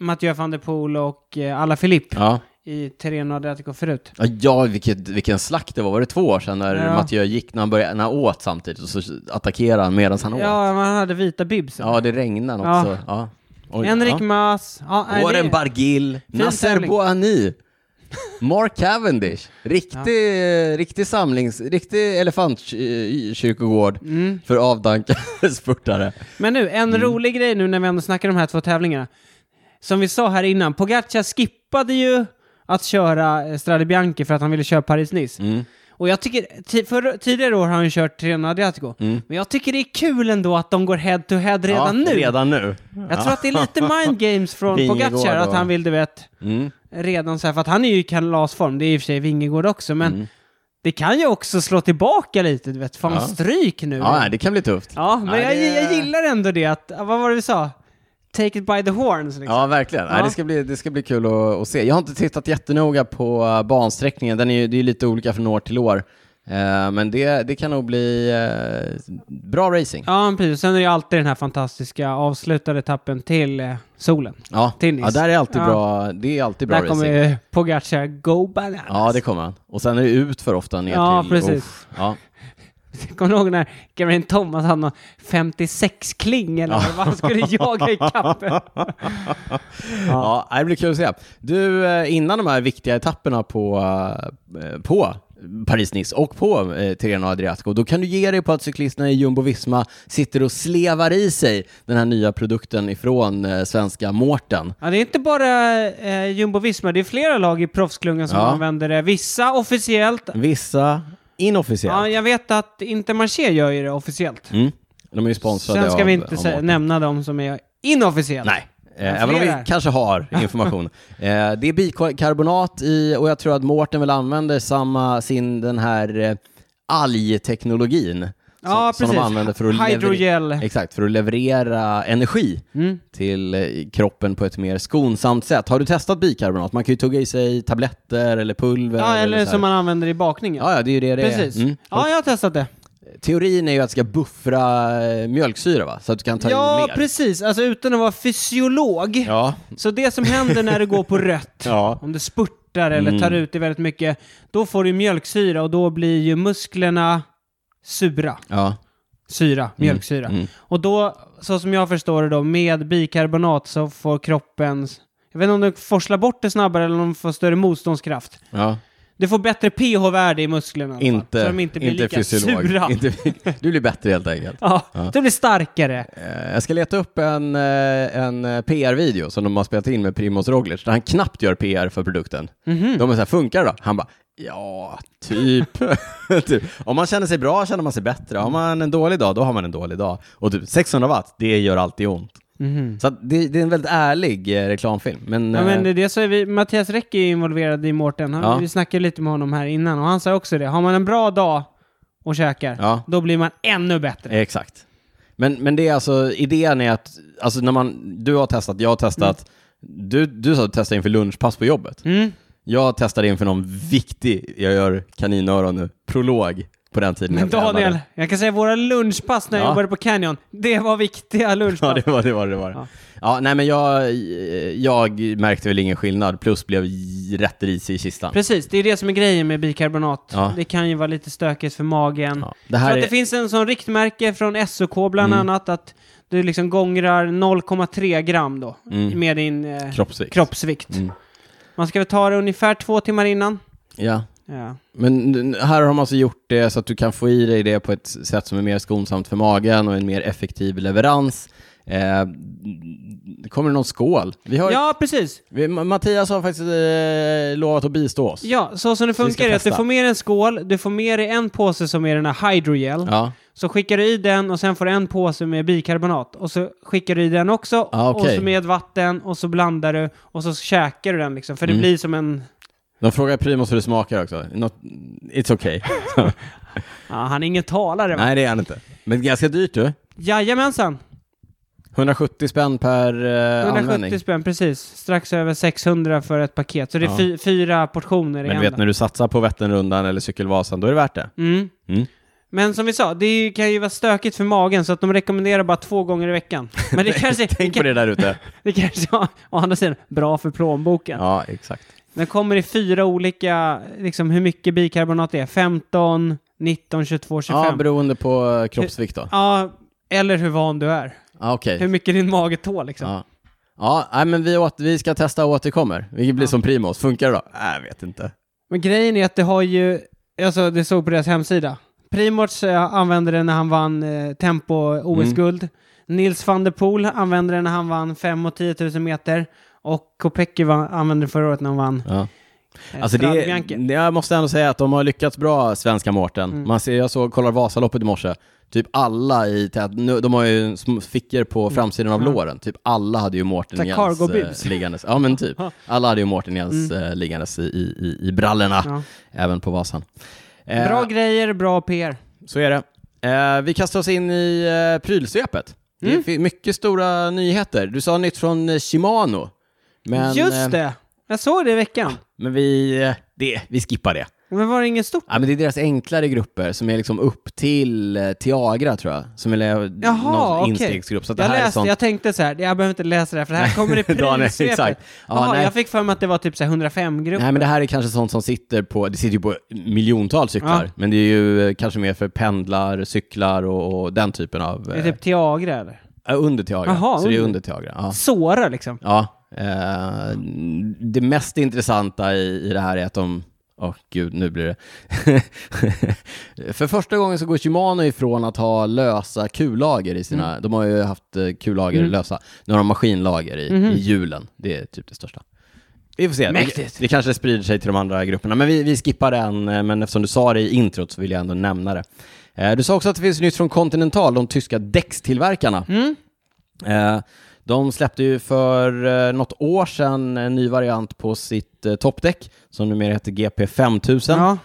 [SPEAKER 2] Mathieu van der Poel och eh, Alla Filipp
[SPEAKER 1] Ja.
[SPEAKER 2] i Tirreno Adriatico förut.
[SPEAKER 1] Ja, Ja, vilket, vilken slakt det var. Var det två år sedan när
[SPEAKER 2] Ja.
[SPEAKER 1] Mathieu gick, när han, började, när han åt samtidigt och så attackerade han medan han åt? Ja,
[SPEAKER 2] Ja, man hade vita bibs.
[SPEAKER 1] det regnade
[SPEAKER 2] Ja.
[SPEAKER 1] också. Ja. Oj,
[SPEAKER 2] Henrik
[SPEAKER 1] ja.
[SPEAKER 2] Mas. Ja, nej,
[SPEAKER 1] Warren
[SPEAKER 2] det,
[SPEAKER 1] Bargill,
[SPEAKER 2] Fin
[SPEAKER 1] Nasser
[SPEAKER 2] tävling.
[SPEAKER 1] Bouhani, Mark Cavendish. Riktig, riktig samlings... Riktig elefantkyrkogård
[SPEAKER 2] mm.
[SPEAKER 1] för avdankade spurtare.
[SPEAKER 2] Men nu, en
[SPEAKER 1] Mm.
[SPEAKER 2] rolig grej nu när vi ändå snackar om de här två tävlingarna. Som vi sa här innan, Pogacar skippade ju att köra eh, Strade Bianchi för att han ville köra Paris-Nice.
[SPEAKER 1] Mm.
[SPEAKER 2] Och jag tycker, ti- för, tidigare år har han ju kört Tirreno Adriatico. Men jag tycker det är kul ändå att de går head-to-head redan
[SPEAKER 1] Mm. ja,
[SPEAKER 2] nu.
[SPEAKER 1] Redan nu.
[SPEAKER 2] Jag tror att det är lite mind games från
[SPEAKER 1] Vingegård
[SPEAKER 2] Pogacar,
[SPEAKER 1] och-
[SPEAKER 2] att han vill, du vet,
[SPEAKER 1] Mm.
[SPEAKER 2] redan så här, för att han är ju i kalasform, det är i och för sig Vingegård också, men det kan ju också slå tillbaka lite, du vet, fan
[SPEAKER 1] Mm. Ja.
[SPEAKER 2] stryk nu.
[SPEAKER 1] Ja, det kan bli tufft.
[SPEAKER 2] Ja, men
[SPEAKER 1] Nej,
[SPEAKER 2] jag,
[SPEAKER 1] det-
[SPEAKER 2] jag gillar ändå det att, vad var det vi sa? Take it by the horns liksom.
[SPEAKER 1] Ja, verkligen. Nej,
[SPEAKER 2] Ja.
[SPEAKER 1] det, ska bli, det ska bli kul att, att se. Jag har inte tittat jättenoga på eh, bansträckningen. Den är ju, det är ju lite olika från år till år. Eh, men det, det kan nog bli eh, bra racing. Ja,
[SPEAKER 2] Ja, men precis. Sen är det ju alltid den här fantastiska avslutade etappen till eh, solen.
[SPEAKER 1] ja.
[SPEAKER 2] tennis.
[SPEAKER 1] där är alltid
[SPEAKER 2] Ja.
[SPEAKER 1] bra, det är alltid bra
[SPEAKER 2] Där kommer
[SPEAKER 1] racing.
[SPEAKER 2] ju Pogacar go bananas.
[SPEAKER 1] Ja, det kommer han. Och sen är det ut för ofta ner
[SPEAKER 2] Ja,
[SPEAKER 1] till...
[SPEAKER 2] precis.
[SPEAKER 1] Uff. Ja.
[SPEAKER 2] Kommer du ihåg när Geraint Thomas hade någon 56-kling eller vad han skulle jaga ikapp?
[SPEAKER 1] Ja, det blir kul att se. Du, eh, innan de här viktiga etapperna på, eh, på Paris-Nice och på eh, Tirreno Adriatico, då kan du ge dig på att cyklisterna i Jumbo-Visma sitter och slevar i sig den här nya produkten ifrån eh, svenska Mårten.
[SPEAKER 2] Ja, det är inte bara eh, Jumbo-Visma, det är flera lag i proffsklungan som
[SPEAKER 1] Ja.
[SPEAKER 2] använder det. Vissa officiellt.
[SPEAKER 1] Vissa inofficiellt.
[SPEAKER 2] Ja, jag vet att Intermarché gör ju det officiellt.
[SPEAKER 1] Mm. De är ju sponsrade
[SPEAKER 2] Sen ska
[SPEAKER 1] av,
[SPEAKER 2] vi inte
[SPEAKER 1] av
[SPEAKER 2] sä-
[SPEAKER 1] Mårten.
[SPEAKER 2] nämna de som är inofficiellt.
[SPEAKER 1] Nej.
[SPEAKER 2] Men
[SPEAKER 1] Eh, även om vi
[SPEAKER 2] flera.
[SPEAKER 1] kanske har information. eh, det är bikarbonat i, och jag tror att Mårten väl använder samma, sin, den här eh, algteknologin. Som,
[SPEAKER 2] Ja,
[SPEAKER 1] som de
[SPEAKER 2] precis.
[SPEAKER 1] använder för att,
[SPEAKER 2] Hydrogel. Mm.
[SPEAKER 1] Leverera, exakt, för att leverera energi till eh, kroppen på ett mer skonsamt sätt. Har du testat bikarbonat? Man kan ju tugga i sig tabletter eller pulver.
[SPEAKER 2] Ja, eller
[SPEAKER 1] så
[SPEAKER 2] som
[SPEAKER 1] här.
[SPEAKER 2] man använder i bakningen.
[SPEAKER 1] ja, ja, det är ju det det
[SPEAKER 2] Precis.
[SPEAKER 1] är. Mm.
[SPEAKER 2] Ja, jag har testat det.
[SPEAKER 1] Teorin är ju att det ska buffra eh, mjölksyra, va? så att du kan ta
[SPEAKER 2] Ja,
[SPEAKER 1] in mer.
[SPEAKER 2] precis. Alltså utan att vara fysiolog.
[SPEAKER 1] Ja,
[SPEAKER 2] Så det som händer när du går på rött,
[SPEAKER 1] Ja. Mm.
[SPEAKER 2] om du spurtar eller tar ut det väldigt mycket, då får du mjölksyra och då blir ju musklerna sura.
[SPEAKER 1] ja. Mm.
[SPEAKER 2] Syra, mjölksyra. Och då, så som jag förstår det då, med bikarbonat så får kroppen, jag vet inte om den forslar bort det snabbare eller om den får större motståndskraft.
[SPEAKER 1] ja.
[SPEAKER 2] Du får bättre pH-värde i musklerna i alla fall,
[SPEAKER 1] Inte,
[SPEAKER 2] så de inte blir lika
[SPEAKER 1] fysiolog.
[SPEAKER 2] sura.
[SPEAKER 1] Inte, du blir bättre helt enkelt.
[SPEAKER 2] Ja, du blir starkare.
[SPEAKER 1] Eh, Jag ska leta upp en, eh, en eh, PR-video som de har spelat in med Primoz Roglic där han knappt gör PR för produkten.
[SPEAKER 2] Mhm.
[SPEAKER 1] De är så här, funkar det då? Han bara, ja, typ. typ. Om man känner sig bra känner man sig bättre. Har man en dålig dag, då har man en dålig dag. Och typ 600 watt, det gör alltid ont. Så att det, det är en väldigt ärlig eh, reklamfilm. Men,
[SPEAKER 2] Mhm. Ja, men
[SPEAKER 1] eh,
[SPEAKER 2] det, är det så är vi, Mattias Räck är ju involverad i Mårten. Han-
[SPEAKER 1] Ja.
[SPEAKER 2] Vi snackade lite med honom här innan och han sa också det. Har man en bra dag och käkar,
[SPEAKER 1] Ja.
[SPEAKER 2] då blir man ännu bättre.
[SPEAKER 1] Exakt. Men, men det är alltså, idén är att, alltså när man, du har testat, jag har testat, du, du sa att du testade inför lunchpass på jobbet.
[SPEAKER 2] Mm.
[SPEAKER 1] Jag testade inför någon viktig, jag gör kaninöron nu, prolog på den tiden.
[SPEAKER 2] Men
[SPEAKER 1] jag tränade.
[SPEAKER 2] Daniel, jag kan säga våra lunchpass när jag
[SPEAKER 1] Ja.
[SPEAKER 2] jobbade på Canyon, det var viktiga
[SPEAKER 1] Ja,
[SPEAKER 2] lunchpass.
[SPEAKER 1] det var det. Var, det, var. Ja.
[SPEAKER 2] Ja.
[SPEAKER 1] nej men jag, jag märkte väl ingen skillnad, plus blev j- rätt risig i kistan.
[SPEAKER 2] Precis, det är det som är grejen med bikarbonat.
[SPEAKER 1] Ja.
[SPEAKER 2] Det kan ju vara lite stökigt för magen.
[SPEAKER 1] Ja, det
[SPEAKER 2] så
[SPEAKER 1] här
[SPEAKER 2] att det
[SPEAKER 1] är, Mm.
[SPEAKER 2] finns en sån riktmärke från SOK bland annat att du liksom gångrar 0,3 gram då
[SPEAKER 1] Mm.
[SPEAKER 2] med din eh,
[SPEAKER 1] kroppsvikt.
[SPEAKER 2] kroppsvikt.
[SPEAKER 1] Mm.
[SPEAKER 2] Man ska väl ta det ungefär två timmar innan.
[SPEAKER 1] Ja.
[SPEAKER 2] Ja.
[SPEAKER 1] Men n- här har de alltså gjort det så att du kan få i dig det på ett sätt som är mer skonsamt för magen och en mer effektiv leverans. Eh, kommer det någon skål? Vi har,
[SPEAKER 2] Ja, precis.
[SPEAKER 1] vi, Ma- Mattias har faktiskt eh, lovat att bistå oss.
[SPEAKER 2] Ja, så som det funkar är att du
[SPEAKER 1] testa.
[SPEAKER 2] får med dig en skål, du får med dig en påse som är den här hydrogel,
[SPEAKER 1] Ja.
[SPEAKER 2] så skickar du i den och sen får du en påse med bikarbonat och så skickar du i den också
[SPEAKER 1] Ah, okej.
[SPEAKER 2] och så med vatten och så blandar du och så käkar du den liksom, för det
[SPEAKER 1] Mm.
[SPEAKER 2] blir som en...
[SPEAKER 1] De frågar Primus hur det smakar också. Not, it's okay.
[SPEAKER 2] Ja, han är ingen talare va?
[SPEAKER 1] Nej, det är han inte. Men ganska dyrt du.
[SPEAKER 2] Jajamensan!
[SPEAKER 1] 170 spänn per eh,
[SPEAKER 2] 170
[SPEAKER 1] användning.
[SPEAKER 2] spänn, precis. Strax över 600 för ett paket, så det är
[SPEAKER 1] Ja.
[SPEAKER 2] fy, fyra portioner i
[SPEAKER 1] Men du
[SPEAKER 2] en.
[SPEAKER 1] vet,
[SPEAKER 2] då.
[SPEAKER 1] när du satsar på Vätternrundan eller Cykelvasan, då är det värt det.
[SPEAKER 2] Mm.
[SPEAKER 1] Mm.
[SPEAKER 2] Men som vi sa, det är ju- kan ju vara stökigt för magen så att de rekommenderar bara två gånger i veckan. Men det kanske...
[SPEAKER 1] Tänk på det där ute.
[SPEAKER 2] Det kanske var, å andra sidan, bra för plånboken.
[SPEAKER 1] Ja, exakt.
[SPEAKER 2] Den kommer i fyra olika, liksom hur mycket bikarbonat det är. 15, 19, 22, 25.
[SPEAKER 1] Ja, beroende på eh, kroppsvikt då.
[SPEAKER 2] Ja, eller hur van du är.
[SPEAKER 1] Ja, okej.
[SPEAKER 2] Hur mycket din mage tål liksom.
[SPEAKER 1] Ja. Ja, nej, men vi, åt, vi ska testa och återkommer. Vi blir som Primus. Funkar det då? Nej, jag vet inte.
[SPEAKER 2] Men grejen är att det har ju, alltså det såg på deras hemsida. Primoz eh, använde det när han vann eh, Tempo OS-guld.
[SPEAKER 1] Mm.
[SPEAKER 2] Nils van der Poel använde det när han vann 5 och 10 000 meter. Och Kopecky va- använde det förra året när han vann
[SPEAKER 1] Ja.
[SPEAKER 2] eh,
[SPEAKER 1] Alltså
[SPEAKER 2] Strade
[SPEAKER 1] det,
[SPEAKER 2] Bianche.
[SPEAKER 1] jag måste ändå säga att de har lyckats bra, svenska Mårten.
[SPEAKER 2] Mm.
[SPEAKER 1] Man ser, jag såg, kollar Vasaloppet i morse, typ alla i tät, nu, de har ju små fickor
[SPEAKER 2] Mm.
[SPEAKER 1] på framsidan av låren, typ alla hade ju
[SPEAKER 2] Så
[SPEAKER 1] Mårten i hans
[SPEAKER 2] cargo-bibs.
[SPEAKER 1] eh, liggandes. Ja men typ, alla hade ju Mårten i hans eh, liggandes i, i, i, i brallorna,
[SPEAKER 2] Mm. Ja.
[SPEAKER 1] även på Vasan. Eh,
[SPEAKER 2] Bra grejer, bra PR.
[SPEAKER 1] Så är det. Eh, vi kastar oss in i eh, prylsvepet.
[SPEAKER 2] Mm.
[SPEAKER 1] Det finns mycket stora nyheter. Du sa nytt från eh, Shimano. Men,
[SPEAKER 2] Just
[SPEAKER 1] eh,
[SPEAKER 2] det! Jag såg det i veckan.
[SPEAKER 1] Men vi, eh, det, vi skippar det.
[SPEAKER 2] Men var det inget stort?
[SPEAKER 1] Ja, men det är deras enklare grupper som är liksom upp till eh, Tiagra tror jag, som är le- någon
[SPEAKER 2] Jaha, okej.
[SPEAKER 1] instegsgrupp. Så att det
[SPEAKER 2] jag
[SPEAKER 1] här är
[SPEAKER 2] läste,
[SPEAKER 1] sånt...
[SPEAKER 2] jag tänkte så här, jag behöver inte läsa det här för det här kommer i
[SPEAKER 1] Daniel,
[SPEAKER 2] prissvepet.
[SPEAKER 1] exakt. Ja,
[SPEAKER 2] Jaha,
[SPEAKER 1] nej.
[SPEAKER 2] jag fick för mig att det var typ 105-grupp.
[SPEAKER 1] Nej men det här är kanske sånt som sitter på, det sitter ju på miljontals cyklar,
[SPEAKER 2] Ja.
[SPEAKER 1] men det är ju eh, kanske mer för pendlar, cyklar och, och den typen av...
[SPEAKER 2] Det
[SPEAKER 1] Eh,
[SPEAKER 2] är typ Tiagra eller?
[SPEAKER 1] ja, under Tiagra,
[SPEAKER 2] Jaha,
[SPEAKER 1] så det är
[SPEAKER 2] under.
[SPEAKER 1] under Tiagra. Ja.
[SPEAKER 2] Sora liksom.
[SPEAKER 1] ja. Eh, det mest intressanta i, i det här är att de Åh gud, nu blir det... För första gången så går Shimano ifrån att ha lösa kullager i sina...
[SPEAKER 2] Mm.
[SPEAKER 1] De har ju haft eh, kullager lösa. Nu har de maskinlager i,
[SPEAKER 2] Mhm.
[SPEAKER 1] i hjulen. Det är typ det största. Vi får se.
[SPEAKER 2] Mäktigt.
[SPEAKER 1] Det, det kanske sprider sig till de andra grupperna. Men vi, vi skippar den, eh, men eftersom du sa det i introt så vill jag ändå nämna det. Eh, Du sa också att det finns nytt från Continental, de tyska
[SPEAKER 2] Mm.
[SPEAKER 1] däckstillverkarna. Eh, De släppte ju för eh, något år sedan en ny variant på sitt eh, toppdäck som numera heter GP5000.
[SPEAKER 2] Ja.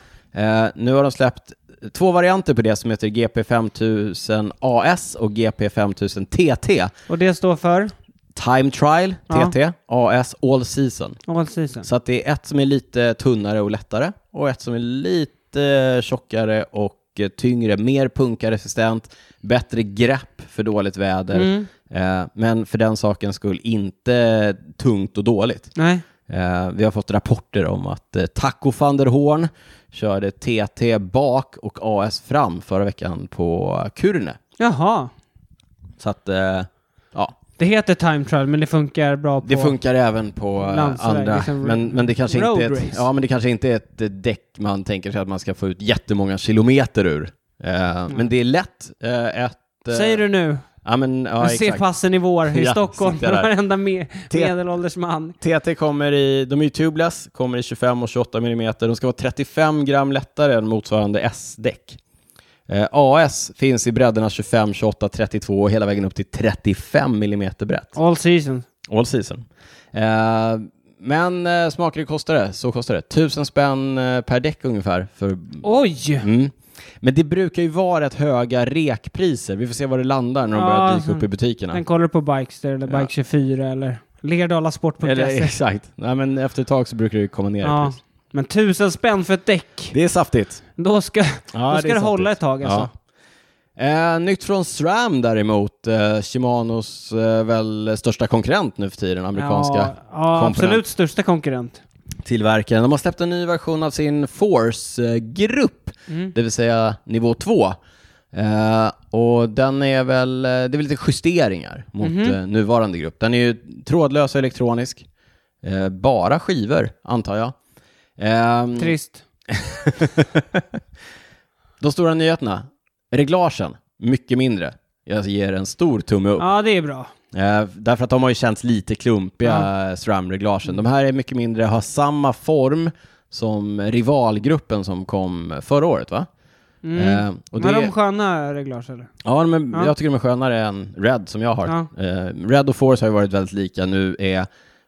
[SPEAKER 1] Eh, nu har de släppt två varianter på det som heter GP5000 AS och GP5000 TT.
[SPEAKER 2] Och det står för?
[SPEAKER 1] Time Trial,
[SPEAKER 2] Ja.
[SPEAKER 1] TT, AS All Season.
[SPEAKER 2] All season.
[SPEAKER 1] Mm. Så att det är ett som är lite tunnare och lättare och ett som är lite eh, tjockare och eh, tyngre, mer punkaresistent, bättre grepp för dåligt väder.
[SPEAKER 2] Mm.
[SPEAKER 1] Eh, Men för den saken skull inte tungt och dåligt.
[SPEAKER 2] Nej.
[SPEAKER 1] Eh, Vi har fått rapporter om att eh, Taco van der Horn körde TT bak och AS fram förra veckan på Kurne.
[SPEAKER 2] Jaha.
[SPEAKER 1] Så att, eh, ja,
[SPEAKER 2] Det heter time trial, men det funkar bra på...
[SPEAKER 1] det funkar även på eh,
[SPEAKER 2] Landsväg,
[SPEAKER 1] andra,
[SPEAKER 2] liksom
[SPEAKER 1] men, men, det kanske inte är
[SPEAKER 2] road
[SPEAKER 1] ett,
[SPEAKER 2] race.
[SPEAKER 1] ja, men det kanske inte är ett eh, däck man tänker sig att man ska få ut jättemånga kilometer ur. Eh, Men det är lätt eh, ett... eh,
[SPEAKER 2] Mm. Säger du nu?
[SPEAKER 1] Ja, men, ja,
[SPEAKER 2] jag ser
[SPEAKER 1] exakt.
[SPEAKER 2] passen i vår i
[SPEAKER 1] Ja,
[SPEAKER 2] Stockholm
[SPEAKER 1] sitter
[SPEAKER 2] för
[SPEAKER 1] där.
[SPEAKER 2] varenda med,
[SPEAKER 1] Te-
[SPEAKER 2] medelålders man.
[SPEAKER 1] TT kommer i, de är ju tubeless, kommer i 25 och 28 mm. De ska vara 35 gram lättare än motsvarande S-däck. Eh, AS finns i bredderna 25, 28, 32 och hela vägen upp till 35 mm brett.
[SPEAKER 2] All season.
[SPEAKER 1] All season. Eh, men eh, smakar det kostar det, så kostar det. Tusen spänn eh, per däck ungefär. För,
[SPEAKER 2] Oj!
[SPEAKER 1] mm. Men det brukar ju vara rätt höga rekpriser. Vi får se var det landar när de
[SPEAKER 2] Ja,
[SPEAKER 1] börjar dyka
[SPEAKER 2] alltså,
[SPEAKER 1] upp i butikerna.
[SPEAKER 2] Den kollar på Bikester eller
[SPEAKER 1] Ja.
[SPEAKER 2] Bike24 eller
[SPEAKER 1] Eller,
[SPEAKER 2] Lerdalasport.se.
[SPEAKER 1] exakt. Nej, men efter ett tag så brukar det ju komma ner i
[SPEAKER 2] Ja.
[SPEAKER 1] pris.
[SPEAKER 2] Men tusen spänn för ett däck!
[SPEAKER 1] Det är saftigt.
[SPEAKER 2] Då ska,
[SPEAKER 1] Ja,
[SPEAKER 2] då ska det,
[SPEAKER 1] är sant
[SPEAKER 2] hålla
[SPEAKER 1] det.
[SPEAKER 2] ett tag alltså.
[SPEAKER 1] Eh, nytt från SRAM däremot, eh, Shimanos eh, väl största konkurrent nu för tiden, amerikanska
[SPEAKER 2] Ja, ja
[SPEAKER 1] komponent.
[SPEAKER 2] absolut största konkurrent.
[SPEAKER 1] tillverkaren. De har släppt en ny version av sin Force-grupp,
[SPEAKER 2] Mm.
[SPEAKER 1] det vill säga nivå 2. Eh, och den är väl, eh, det är väl lite justeringar mot eh, nuvarande grupp. Den är ju trådlös och elektronisk, eh, bara skivor antar jag. Ehm,
[SPEAKER 2] Trist.
[SPEAKER 1] De stora nyheterna. Reglagen, mycket mindre. Jag ger en stor tumme upp.
[SPEAKER 2] Ja, det är bra.
[SPEAKER 1] Eh, därför att de har ju känts lite klumpiga, ja. SRAM-reglagen. De här är mycket mindre, har samma form som rivalgruppen som kom förra året va?
[SPEAKER 2] Mm.
[SPEAKER 1] Eh, och det,
[SPEAKER 2] Var de sköna reglage eller?
[SPEAKER 1] ja, men
[SPEAKER 2] Ja.
[SPEAKER 1] jag tycker de är skönare än Red som jag har.
[SPEAKER 2] Ja.
[SPEAKER 1] Eh, Red och Force har ju varit väldigt lika, nu är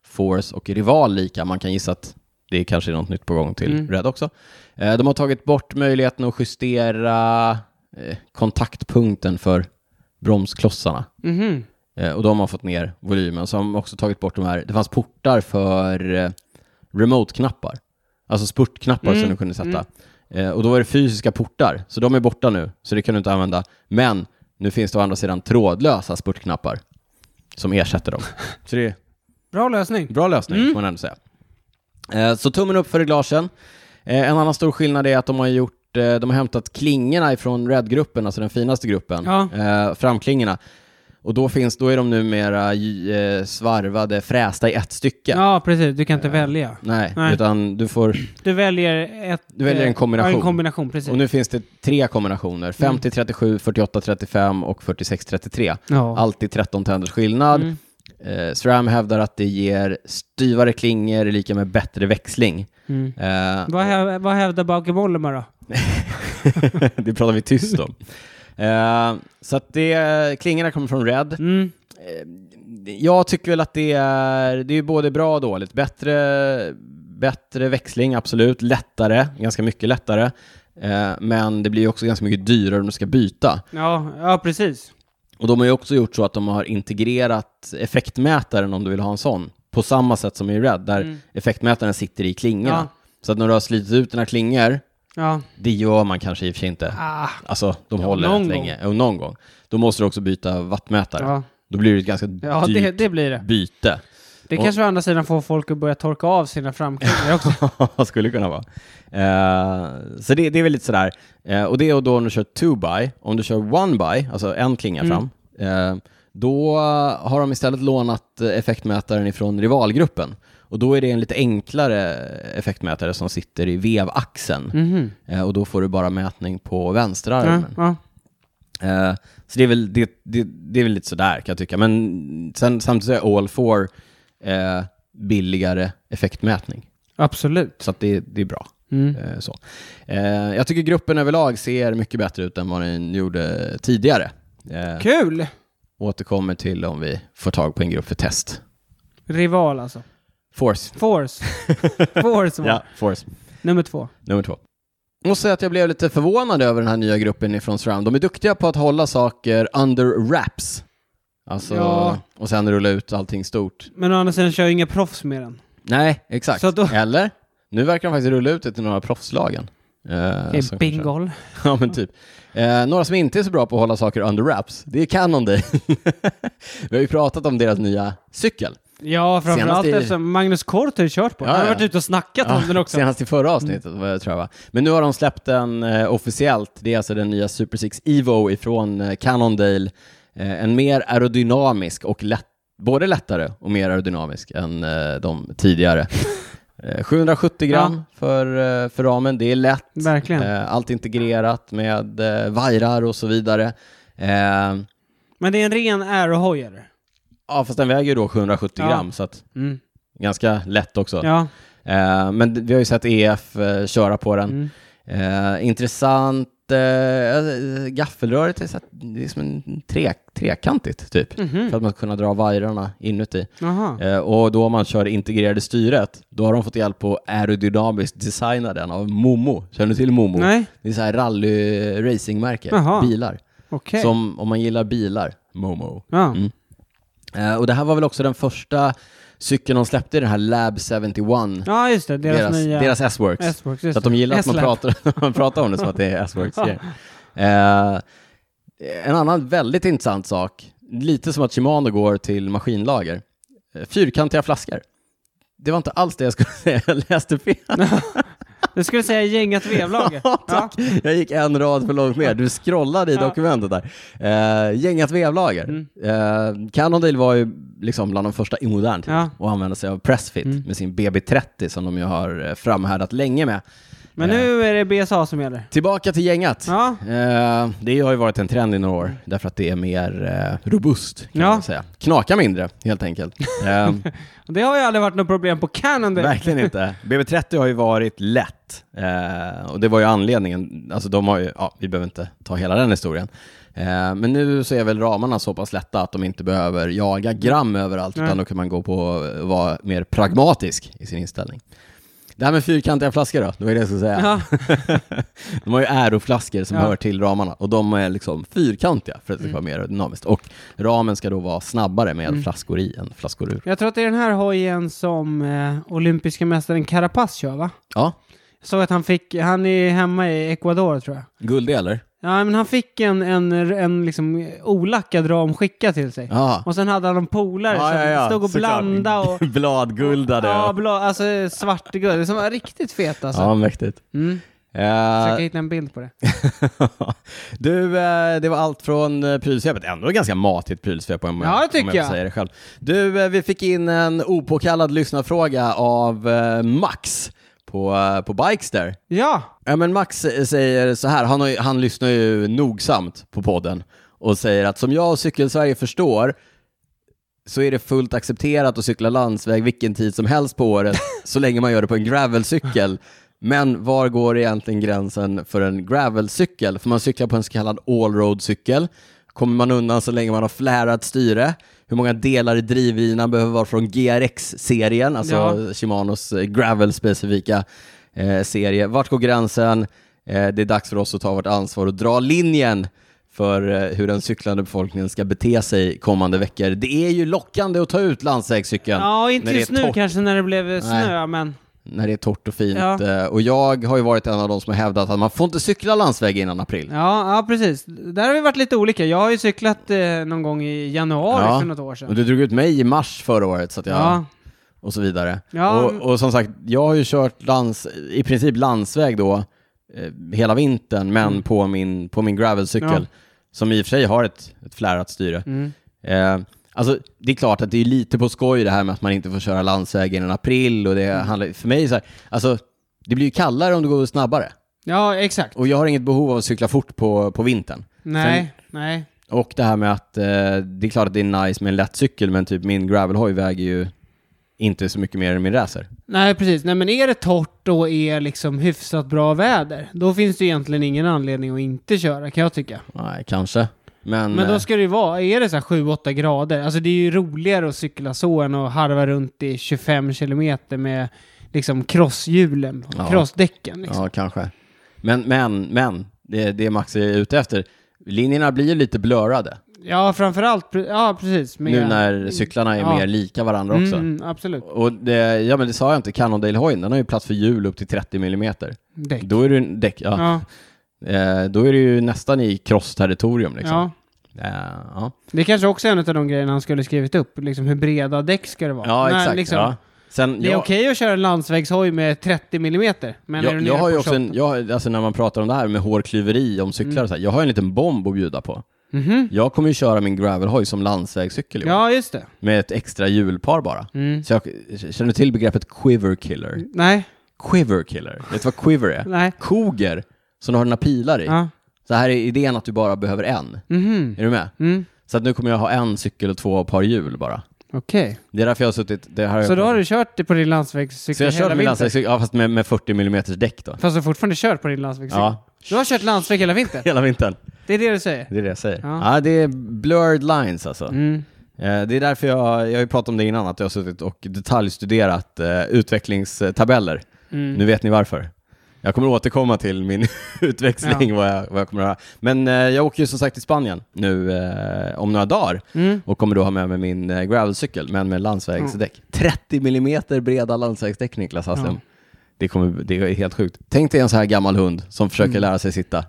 [SPEAKER 1] Force och Rival lika. Man kan gissa att det kanske är något nytt på gång till
[SPEAKER 2] Mm.
[SPEAKER 1] Red också. Eh, de har tagit bort möjligheten att justera eh, kontaktpunkten för bromsklossarna.
[SPEAKER 2] Mhm.
[SPEAKER 1] Eh, Och de har fått ner volymen. Så har de också tagit bort de här, det fanns portar för eh, remote-knappar. Alltså spurtknappar
[SPEAKER 2] Mm,
[SPEAKER 1] som du kunde sätta. Eh, Och då var det fysiska portar, så de är borta nu. Så det kan du inte använda. Men nu finns det å andra sidan trådlösa spurtknappar som ersätter dem. Så det är
[SPEAKER 2] Bra lösning.
[SPEAKER 1] bra lösning,
[SPEAKER 2] Mm.
[SPEAKER 1] får man ändå säga. Eh, Så tummen upp för reglagen. Eh, En annan stor skillnad är att de har gjort eh, de har hämtat klingorna ifrån Red-gruppen, alltså den finaste gruppen,
[SPEAKER 2] Ja.
[SPEAKER 1] eh, framklingorna. Och då, finns, då är de numera eh, svarvade, frästa i ett stycke.
[SPEAKER 2] Ja, precis. Du kan
[SPEAKER 1] Eh.
[SPEAKER 2] inte välja.
[SPEAKER 1] Nej,
[SPEAKER 2] Nej.
[SPEAKER 1] utan du får...
[SPEAKER 2] Du väljer ett...
[SPEAKER 1] Du väljer en
[SPEAKER 2] eh,
[SPEAKER 1] kombination.
[SPEAKER 2] Ja, en kombination, precis.
[SPEAKER 1] Och nu finns det tre kombinationer.
[SPEAKER 2] Mm.
[SPEAKER 1] 50, 37, 48, 35 och 46, 33.
[SPEAKER 2] ja.
[SPEAKER 1] Alltid 13 tänders skillnad.
[SPEAKER 2] Mm.
[SPEAKER 1] Eh, SRAM hävdar att det ger styvare klingor lika med bättre växling.
[SPEAKER 2] Mm.
[SPEAKER 1] Eh,
[SPEAKER 2] Vad, häv, vad hävdar Bauke Mollema då?
[SPEAKER 1] det pratar vi tyst om. Eh, så att det, klingorna kommer från Red.
[SPEAKER 2] Mm.
[SPEAKER 1] Jag tycker väl att det är, det är ju både bra och dåligt. Bättre, bättre växling, absolut. Lättare, ganska mycket lättare. Eh, men det blir ju också ganska mycket dyrare om du ska byta.
[SPEAKER 2] Ja, ja, precis.
[SPEAKER 1] Och de har ju också gjort så att de har integrerat effektmätaren om du vill ha en sån. På samma sätt som i Red, där
[SPEAKER 2] Mm.
[SPEAKER 1] effektmätaren sitter i klingorna.
[SPEAKER 2] Ja.
[SPEAKER 1] Så att när du har slitit ut dina klingor
[SPEAKER 2] Ja.
[SPEAKER 1] Det gör man kanske i och för sig inte.
[SPEAKER 2] Ah.
[SPEAKER 1] Alltså, de
[SPEAKER 2] Ja,
[SPEAKER 1] håller
[SPEAKER 2] någon
[SPEAKER 1] rätt
[SPEAKER 2] gång.
[SPEAKER 1] länge. Jo, någon gång. Då måste du också byta vattmätare.
[SPEAKER 2] Ja,
[SPEAKER 1] Då blir det ett ganska
[SPEAKER 2] ja
[SPEAKER 1] dyrt
[SPEAKER 2] det, det blir det.
[SPEAKER 1] byte.
[SPEAKER 2] Det
[SPEAKER 1] Och-
[SPEAKER 2] kanske å andra sidan får folk att börja torka av sina framkläder också.
[SPEAKER 1] skulle kunna vara. Eh, så det, det är väl lite sådär. Eh, och det är då om du kör two by. Om du kör one by, alltså en klinga
[SPEAKER 2] Mm.
[SPEAKER 1] fram, eh, då har de istället lånat eh, effektmätaren ifrån rivalgruppen. Och då är det en lite enklare effektmätare som sitter i vevaxeln.
[SPEAKER 2] Mhm.
[SPEAKER 1] Eh, och då får du bara mätning på vänstra
[SPEAKER 2] Ja,
[SPEAKER 1] armen.
[SPEAKER 2] ja.
[SPEAKER 1] Eh, så det är, väl, det, det, det är väl lite sådär kan jag tycka. Men sen, samtidigt är all four eh, billigare effektmätning.
[SPEAKER 2] Absolut.
[SPEAKER 1] Så att det, det är bra.
[SPEAKER 2] Mm.
[SPEAKER 1] Eh, så. Eh, jag tycker gruppen överlag ser mycket bättre ut än vad den gjorde tidigare. Eh,
[SPEAKER 2] Kul!
[SPEAKER 1] återkommer till om vi får tag på en grupp för test.
[SPEAKER 2] Rival alltså.
[SPEAKER 1] Force.
[SPEAKER 2] Force. Force var
[SPEAKER 1] Ja, Force.
[SPEAKER 2] nummer två.
[SPEAKER 1] Nummer två. Jag måste säga att jag blev lite förvånad över den här nya gruppen ifrån Surround. De är duktiga på att hålla saker under wraps. Alltså,
[SPEAKER 2] Ja.
[SPEAKER 1] och sen rulla ut allting stort.
[SPEAKER 2] Men å andra sidan kör ju inga proffs med den.
[SPEAKER 1] Nej, exakt.
[SPEAKER 2] Så då-
[SPEAKER 1] Eller? Nu verkar de faktiskt rulla ut det till några av proffslagen. Eh,
[SPEAKER 2] Det
[SPEAKER 1] så
[SPEAKER 2] är
[SPEAKER 1] kanske-
[SPEAKER 2] bingol.
[SPEAKER 1] Ja, men typ. Eh, några som inte är så bra på att hålla saker under wraps, det är Canon Day. Vi har ju pratat om deras nya cykel.
[SPEAKER 2] Ja, framförallt
[SPEAKER 1] Senast i-
[SPEAKER 2] eftersom Magnus Kort har ju kört på den.
[SPEAKER 1] Ja,
[SPEAKER 2] Han har
[SPEAKER 1] ja.
[SPEAKER 2] varit ute och snackat om den också.
[SPEAKER 1] senast i förra avsnittet, eh, tror jag va? Men nu har de släppt den eh, officiellt. Det är alltså den nya Super 6 Evo ifrån eh, Cannondale. Eh, en mer aerodynamisk och lätt, både lättare och mer aerodynamisk än eh, de tidigare. Eh, 770 gram för, eh, för ramen, det är lätt.
[SPEAKER 2] Verkligen.
[SPEAKER 1] Eh, allt integrerat med eh, vajrar och så vidare. Eh,
[SPEAKER 2] Men det är en ren aerohojare.
[SPEAKER 1] Ja, fast den väger ju då 770
[SPEAKER 2] Ja.
[SPEAKER 1] gram, så att
[SPEAKER 2] Mm.
[SPEAKER 1] ganska lätt också.
[SPEAKER 2] Ja.
[SPEAKER 1] Eh, men d- vi har ju sett EF eh, köra på den.
[SPEAKER 2] Mm.
[SPEAKER 1] Eh, intressant, eh, gaffelröret är, så att, det är som en tre, trekantigt typ,
[SPEAKER 2] Mhm.
[SPEAKER 1] för att man ska kunna dra vajrarna inuti.
[SPEAKER 2] Jaha.
[SPEAKER 1] Eh, och då om man kör det integrerade styret, då har de fått hjälp att aerodynamiskt designa den av Momo. Känner du till Momo?
[SPEAKER 2] Nej,
[SPEAKER 1] Det är så här rally-racingmärke,
[SPEAKER 2] Jaha.
[SPEAKER 1] bilar.
[SPEAKER 2] okej.
[SPEAKER 1] Som om man gillar bilar, Momo.
[SPEAKER 2] Ja.
[SPEAKER 1] Mm. Eh, och det här var väl också den första cykeln de släppte i den här Lab 71.
[SPEAKER 2] ja, just det. Deras,
[SPEAKER 1] deras,
[SPEAKER 2] nya...
[SPEAKER 1] deras S-Works.
[SPEAKER 2] S-Works, just
[SPEAKER 1] Så att de gillar att man
[SPEAKER 2] S-Lab.
[SPEAKER 1] pratar, man pratar om det som att det är S-Works eh, En annan väldigt intressant sak, lite som att Shimano går till maskinlager. Eh, Fyrkantiga flaskor. Det var inte alls det jag skulle säga, jag läste fel.
[SPEAKER 2] Du skulle säga gängat vevlager.
[SPEAKER 1] Ja, tack. Jag gick en rad för långt ner. Du scrollade i
[SPEAKER 2] Ja.
[SPEAKER 1] dokumentet där. Eh, gängat vevlager.
[SPEAKER 2] Mm.
[SPEAKER 1] Eh, Cannondale var ju liksom bland de första i modern tid
[SPEAKER 2] Ja.
[SPEAKER 1] och använde sig av Pressfit
[SPEAKER 2] Mm.
[SPEAKER 1] med sin BB30 som de ju har eh, framhärdat länge med.
[SPEAKER 2] Men nu
[SPEAKER 1] Eh.
[SPEAKER 2] är det BSA som gäller.
[SPEAKER 1] Tillbaka till gängat.
[SPEAKER 2] Ja.
[SPEAKER 1] Eh, det har ju varit en trend i några år därför att det är mer eh, robust kan
[SPEAKER 2] Ja.
[SPEAKER 1] man säga. Knakar mindre helt enkelt. Eh,
[SPEAKER 2] Och Det har ju aldrig varit något problem på Canon. det.
[SPEAKER 1] Verkligen inte. BB30 har ju varit lätt. Eh, och det var ju anledningen. Alltså de har ju, ja, vi behöver inte ta hela den historien. Eh, men nu så är väl ramarna så pass lätta att de inte behöver jaga gram överallt,
[SPEAKER 2] Nej.
[SPEAKER 1] utan då kan man gå på att vara mer pragmatisk i sin inställning. Det här med fyrkantiga flaskor då, det var ju det jag skulle säga.
[SPEAKER 2] Ja.
[SPEAKER 1] De har ju aeroflaskor som
[SPEAKER 2] Ja. Mm.
[SPEAKER 1] hör till ramarna och de är liksom fyrkantiga för att det ska vara mer dynamiskt. Och ramen ska då vara snabbare med flaskor i än flaskor ur.
[SPEAKER 2] Jag tror att det är den här hojen som eh, olympiska mästaren Carapaz kör, va?
[SPEAKER 1] Ja,
[SPEAKER 2] Jag såg att han fick, han är hemma i Ecuador tror jag.
[SPEAKER 1] guld eller?
[SPEAKER 2] Ja, men han fick en, en, en liksom olackad ram skickad till sig.
[SPEAKER 1] Ja.
[SPEAKER 2] Och sen hade han en polare som stod och
[SPEAKER 1] såklart.
[SPEAKER 2] blandade och...
[SPEAKER 1] Bladguldade.
[SPEAKER 2] Ja, blå, alltså svartguld. Som var riktigt fet alltså.
[SPEAKER 1] Ja, mäktigt.
[SPEAKER 2] Mm.
[SPEAKER 1] Eh,
[SPEAKER 2] Försöker hitta en bild på det.
[SPEAKER 1] du, eh, det var allt från eh, prylsvepet. Ändå ganska matigt prylsvep om jag,
[SPEAKER 2] Ja, det tycker
[SPEAKER 1] om jag
[SPEAKER 2] jag.
[SPEAKER 1] får säga det själv. Du, eh, vi fick in en opåkallad lyssnarfråga av eh, Max på, eh, på Bikester.
[SPEAKER 2] Ja,
[SPEAKER 1] Ja, men Max eh, säger så här, han, har, ju- han lyssnar ju nogsamt på podden och säger att som jag och Cykelsverige förstår så är det fullt accepterat att cykla landsväg vilken tid som helst på året så länge man gör det på en gravelcykel. Men var går egentligen gränsen för en gravelcykel? För man cyklar på en så kallad allroad-cykel. Kommer man undan så länge man har flärat styre? Hur många delar i drivlinan behöver vara från GRX-serien, alltså
[SPEAKER 2] Ja.
[SPEAKER 1] Shimanos eh, gravel-specifika eh, serie. Vart går gränsen? Eh, det är dags för oss att ta vårt ansvar och dra linjen för eh, hur den cyklande befolkningen ska bete sig kommande veckor. Det är ju lockande att ta ut landsvägscykeln.
[SPEAKER 2] ja
[SPEAKER 1] när
[SPEAKER 2] inte
[SPEAKER 1] det
[SPEAKER 2] just
[SPEAKER 1] är
[SPEAKER 2] nu
[SPEAKER 1] torrt.
[SPEAKER 2] kanske när det blev eh, snö, men...
[SPEAKER 1] när det är torrt och fint.
[SPEAKER 2] Ja.
[SPEAKER 1] Eh, Och jag har ju varit en av de som har hävdat att man får inte cykla landsväg innan april.
[SPEAKER 2] Ja, ja, precis. Där har vi varit lite olika. Jag har ju cyklat eh, någon gång i januari
[SPEAKER 1] Ja.
[SPEAKER 2] för något år
[SPEAKER 1] Och
[SPEAKER 2] sedan.
[SPEAKER 1] du drog ut mig i mars förra året, så att jag...
[SPEAKER 2] Ja.
[SPEAKER 1] Och så vidare.
[SPEAKER 2] Ja.
[SPEAKER 1] Och, och som sagt, jag har ju kört lands, i princip landsväg då eh, hela vintern, men på min, på min gravelcykel,
[SPEAKER 2] Mm. Ja.
[SPEAKER 1] som i och för sig har ett, ett flärat styre.
[SPEAKER 2] Mm.
[SPEAKER 1] Eh, alltså, det är klart att det är lite på skoj det här med att man inte får köra landsväg innan april och det
[SPEAKER 2] Mm.
[SPEAKER 1] handlar, för mig är det så här, alltså, det blir ju kallare om det går snabbare.
[SPEAKER 2] Ja, exakt.
[SPEAKER 1] Och jag har inget behov av att cykla fort på, på vintern.
[SPEAKER 2] Nej, nej.
[SPEAKER 1] Och det här med att eh, det är klart att det är nice med en lätt cykel, men typ min gravelhoj väger ju inte så mycket mer än min racer.
[SPEAKER 2] Nej, precis. Nej, men är det torrt och är liksom hyfsat bra väder, då finns det ju egentligen ingen anledning att inte köra, kan jag tycka.
[SPEAKER 1] Nej, kanske. Men,
[SPEAKER 2] Men
[SPEAKER 1] eh,
[SPEAKER 2] då ska det ju vara, är det så här 7-8 grader, alltså det är ju roligare att cykla så än att harva runt i 25 kilometer med liksom crosshjulen,
[SPEAKER 1] Ja.
[SPEAKER 2] crossdäcken liksom.
[SPEAKER 1] Ja, kanske. Men, men, men, det, det Max är ute efter. Linjerna blir ju lite blörade
[SPEAKER 2] Ja, framförallt, pre- ja precis. med-
[SPEAKER 1] nu när cyklarna är
[SPEAKER 2] Ja.
[SPEAKER 1] mer lika varandra också.
[SPEAKER 2] Mm, mm, absolut.
[SPEAKER 1] Och det, ja, men det sa jag inte, Cannondale-hojen, den har ju plats för hjul upp till 30 millimeter.
[SPEAKER 2] Däck.
[SPEAKER 1] Då är det, ju- däck, ja.
[SPEAKER 2] Ja,
[SPEAKER 1] Eh, då är det ju nästan i cross-territorium liksom.
[SPEAKER 2] ja.
[SPEAKER 1] Eh, ja.
[SPEAKER 2] Det kanske också är en av de grejerna han skulle skrivit upp, liksom hur breda däck ska det vara.
[SPEAKER 1] Ja,
[SPEAKER 2] Men
[SPEAKER 1] exakt.
[SPEAKER 2] liksom,
[SPEAKER 1] ja. Sen,
[SPEAKER 2] Det är
[SPEAKER 1] jag,
[SPEAKER 2] okej att köra en landsvägshoj med 30 millimeter, men är du
[SPEAKER 1] jag,
[SPEAKER 2] nere
[SPEAKER 1] jag har ju
[SPEAKER 2] på
[SPEAKER 1] också en,
[SPEAKER 2] 28?
[SPEAKER 1] jag, alltså när man pratar om det här med hårklyveri om
[SPEAKER 2] Mm.
[SPEAKER 1] cyklar och så här, jag har ju en liten bomb att bjuda på.
[SPEAKER 2] Mhm.
[SPEAKER 1] Jag kommer ju köra min gravelhoj som landsvägscykel i år,
[SPEAKER 2] Ja, just det.
[SPEAKER 1] med ett extra hjulpar bara.
[SPEAKER 2] Mm.
[SPEAKER 1] Så jag känner du till begreppet quiver killer.
[SPEAKER 2] Nej,
[SPEAKER 1] Quiver killer, vet du vad quiver är?
[SPEAKER 2] nej.
[SPEAKER 1] Koger, som du har dina pilar i.
[SPEAKER 2] Ja.
[SPEAKER 1] Så här är idén att du bara behöver en.
[SPEAKER 2] Mhm.
[SPEAKER 1] Är du med?
[SPEAKER 2] Mm.
[SPEAKER 1] Så att nu kommer jag ha en cykel och två par hjul bara.
[SPEAKER 2] Okej.
[SPEAKER 1] Det är därför jag har suttit... Det här
[SPEAKER 2] Så då har du kört det på din landsvägscykel
[SPEAKER 1] så jag
[SPEAKER 2] hela
[SPEAKER 1] körde min
[SPEAKER 2] vintern?
[SPEAKER 1] landsvägscykel, ja, fast med, med 40 mm däck då.
[SPEAKER 2] Fast du har fortfarande kört på din landsvägscykel?
[SPEAKER 1] Ja,
[SPEAKER 2] Du har kört landsväg hela vintern?
[SPEAKER 1] hela vintern.
[SPEAKER 2] Det är det du säger?
[SPEAKER 1] Det är det jag säger.
[SPEAKER 2] Ja.
[SPEAKER 1] Ja, det är blurred lines alltså.
[SPEAKER 2] Mm.
[SPEAKER 1] Eh, Det är därför jag, jag har ju pratat om det innan, att jag har suttit och detaljstuderat eh, utvecklingstabeller.
[SPEAKER 2] Mm.
[SPEAKER 1] Nu vet ni varför. Jag kommer återkomma till min utväxling, vad, jag, vad jag kommer att göra. Men eh, jag åker ju som sagt till Spanien nu eh, om några dagar
[SPEAKER 2] Mm.
[SPEAKER 1] och kommer då ha med mig min eh, gravelcykel, men med landsvägsdäck. 30 millimeter breda landsvägsdäck, Niklas Hasslum.
[SPEAKER 2] Ja.
[SPEAKER 1] Det, kommer, det är helt sjukt. Tänk dig en så här gammal hund som försöker
[SPEAKER 2] Mm.
[SPEAKER 1] lära sig sitta.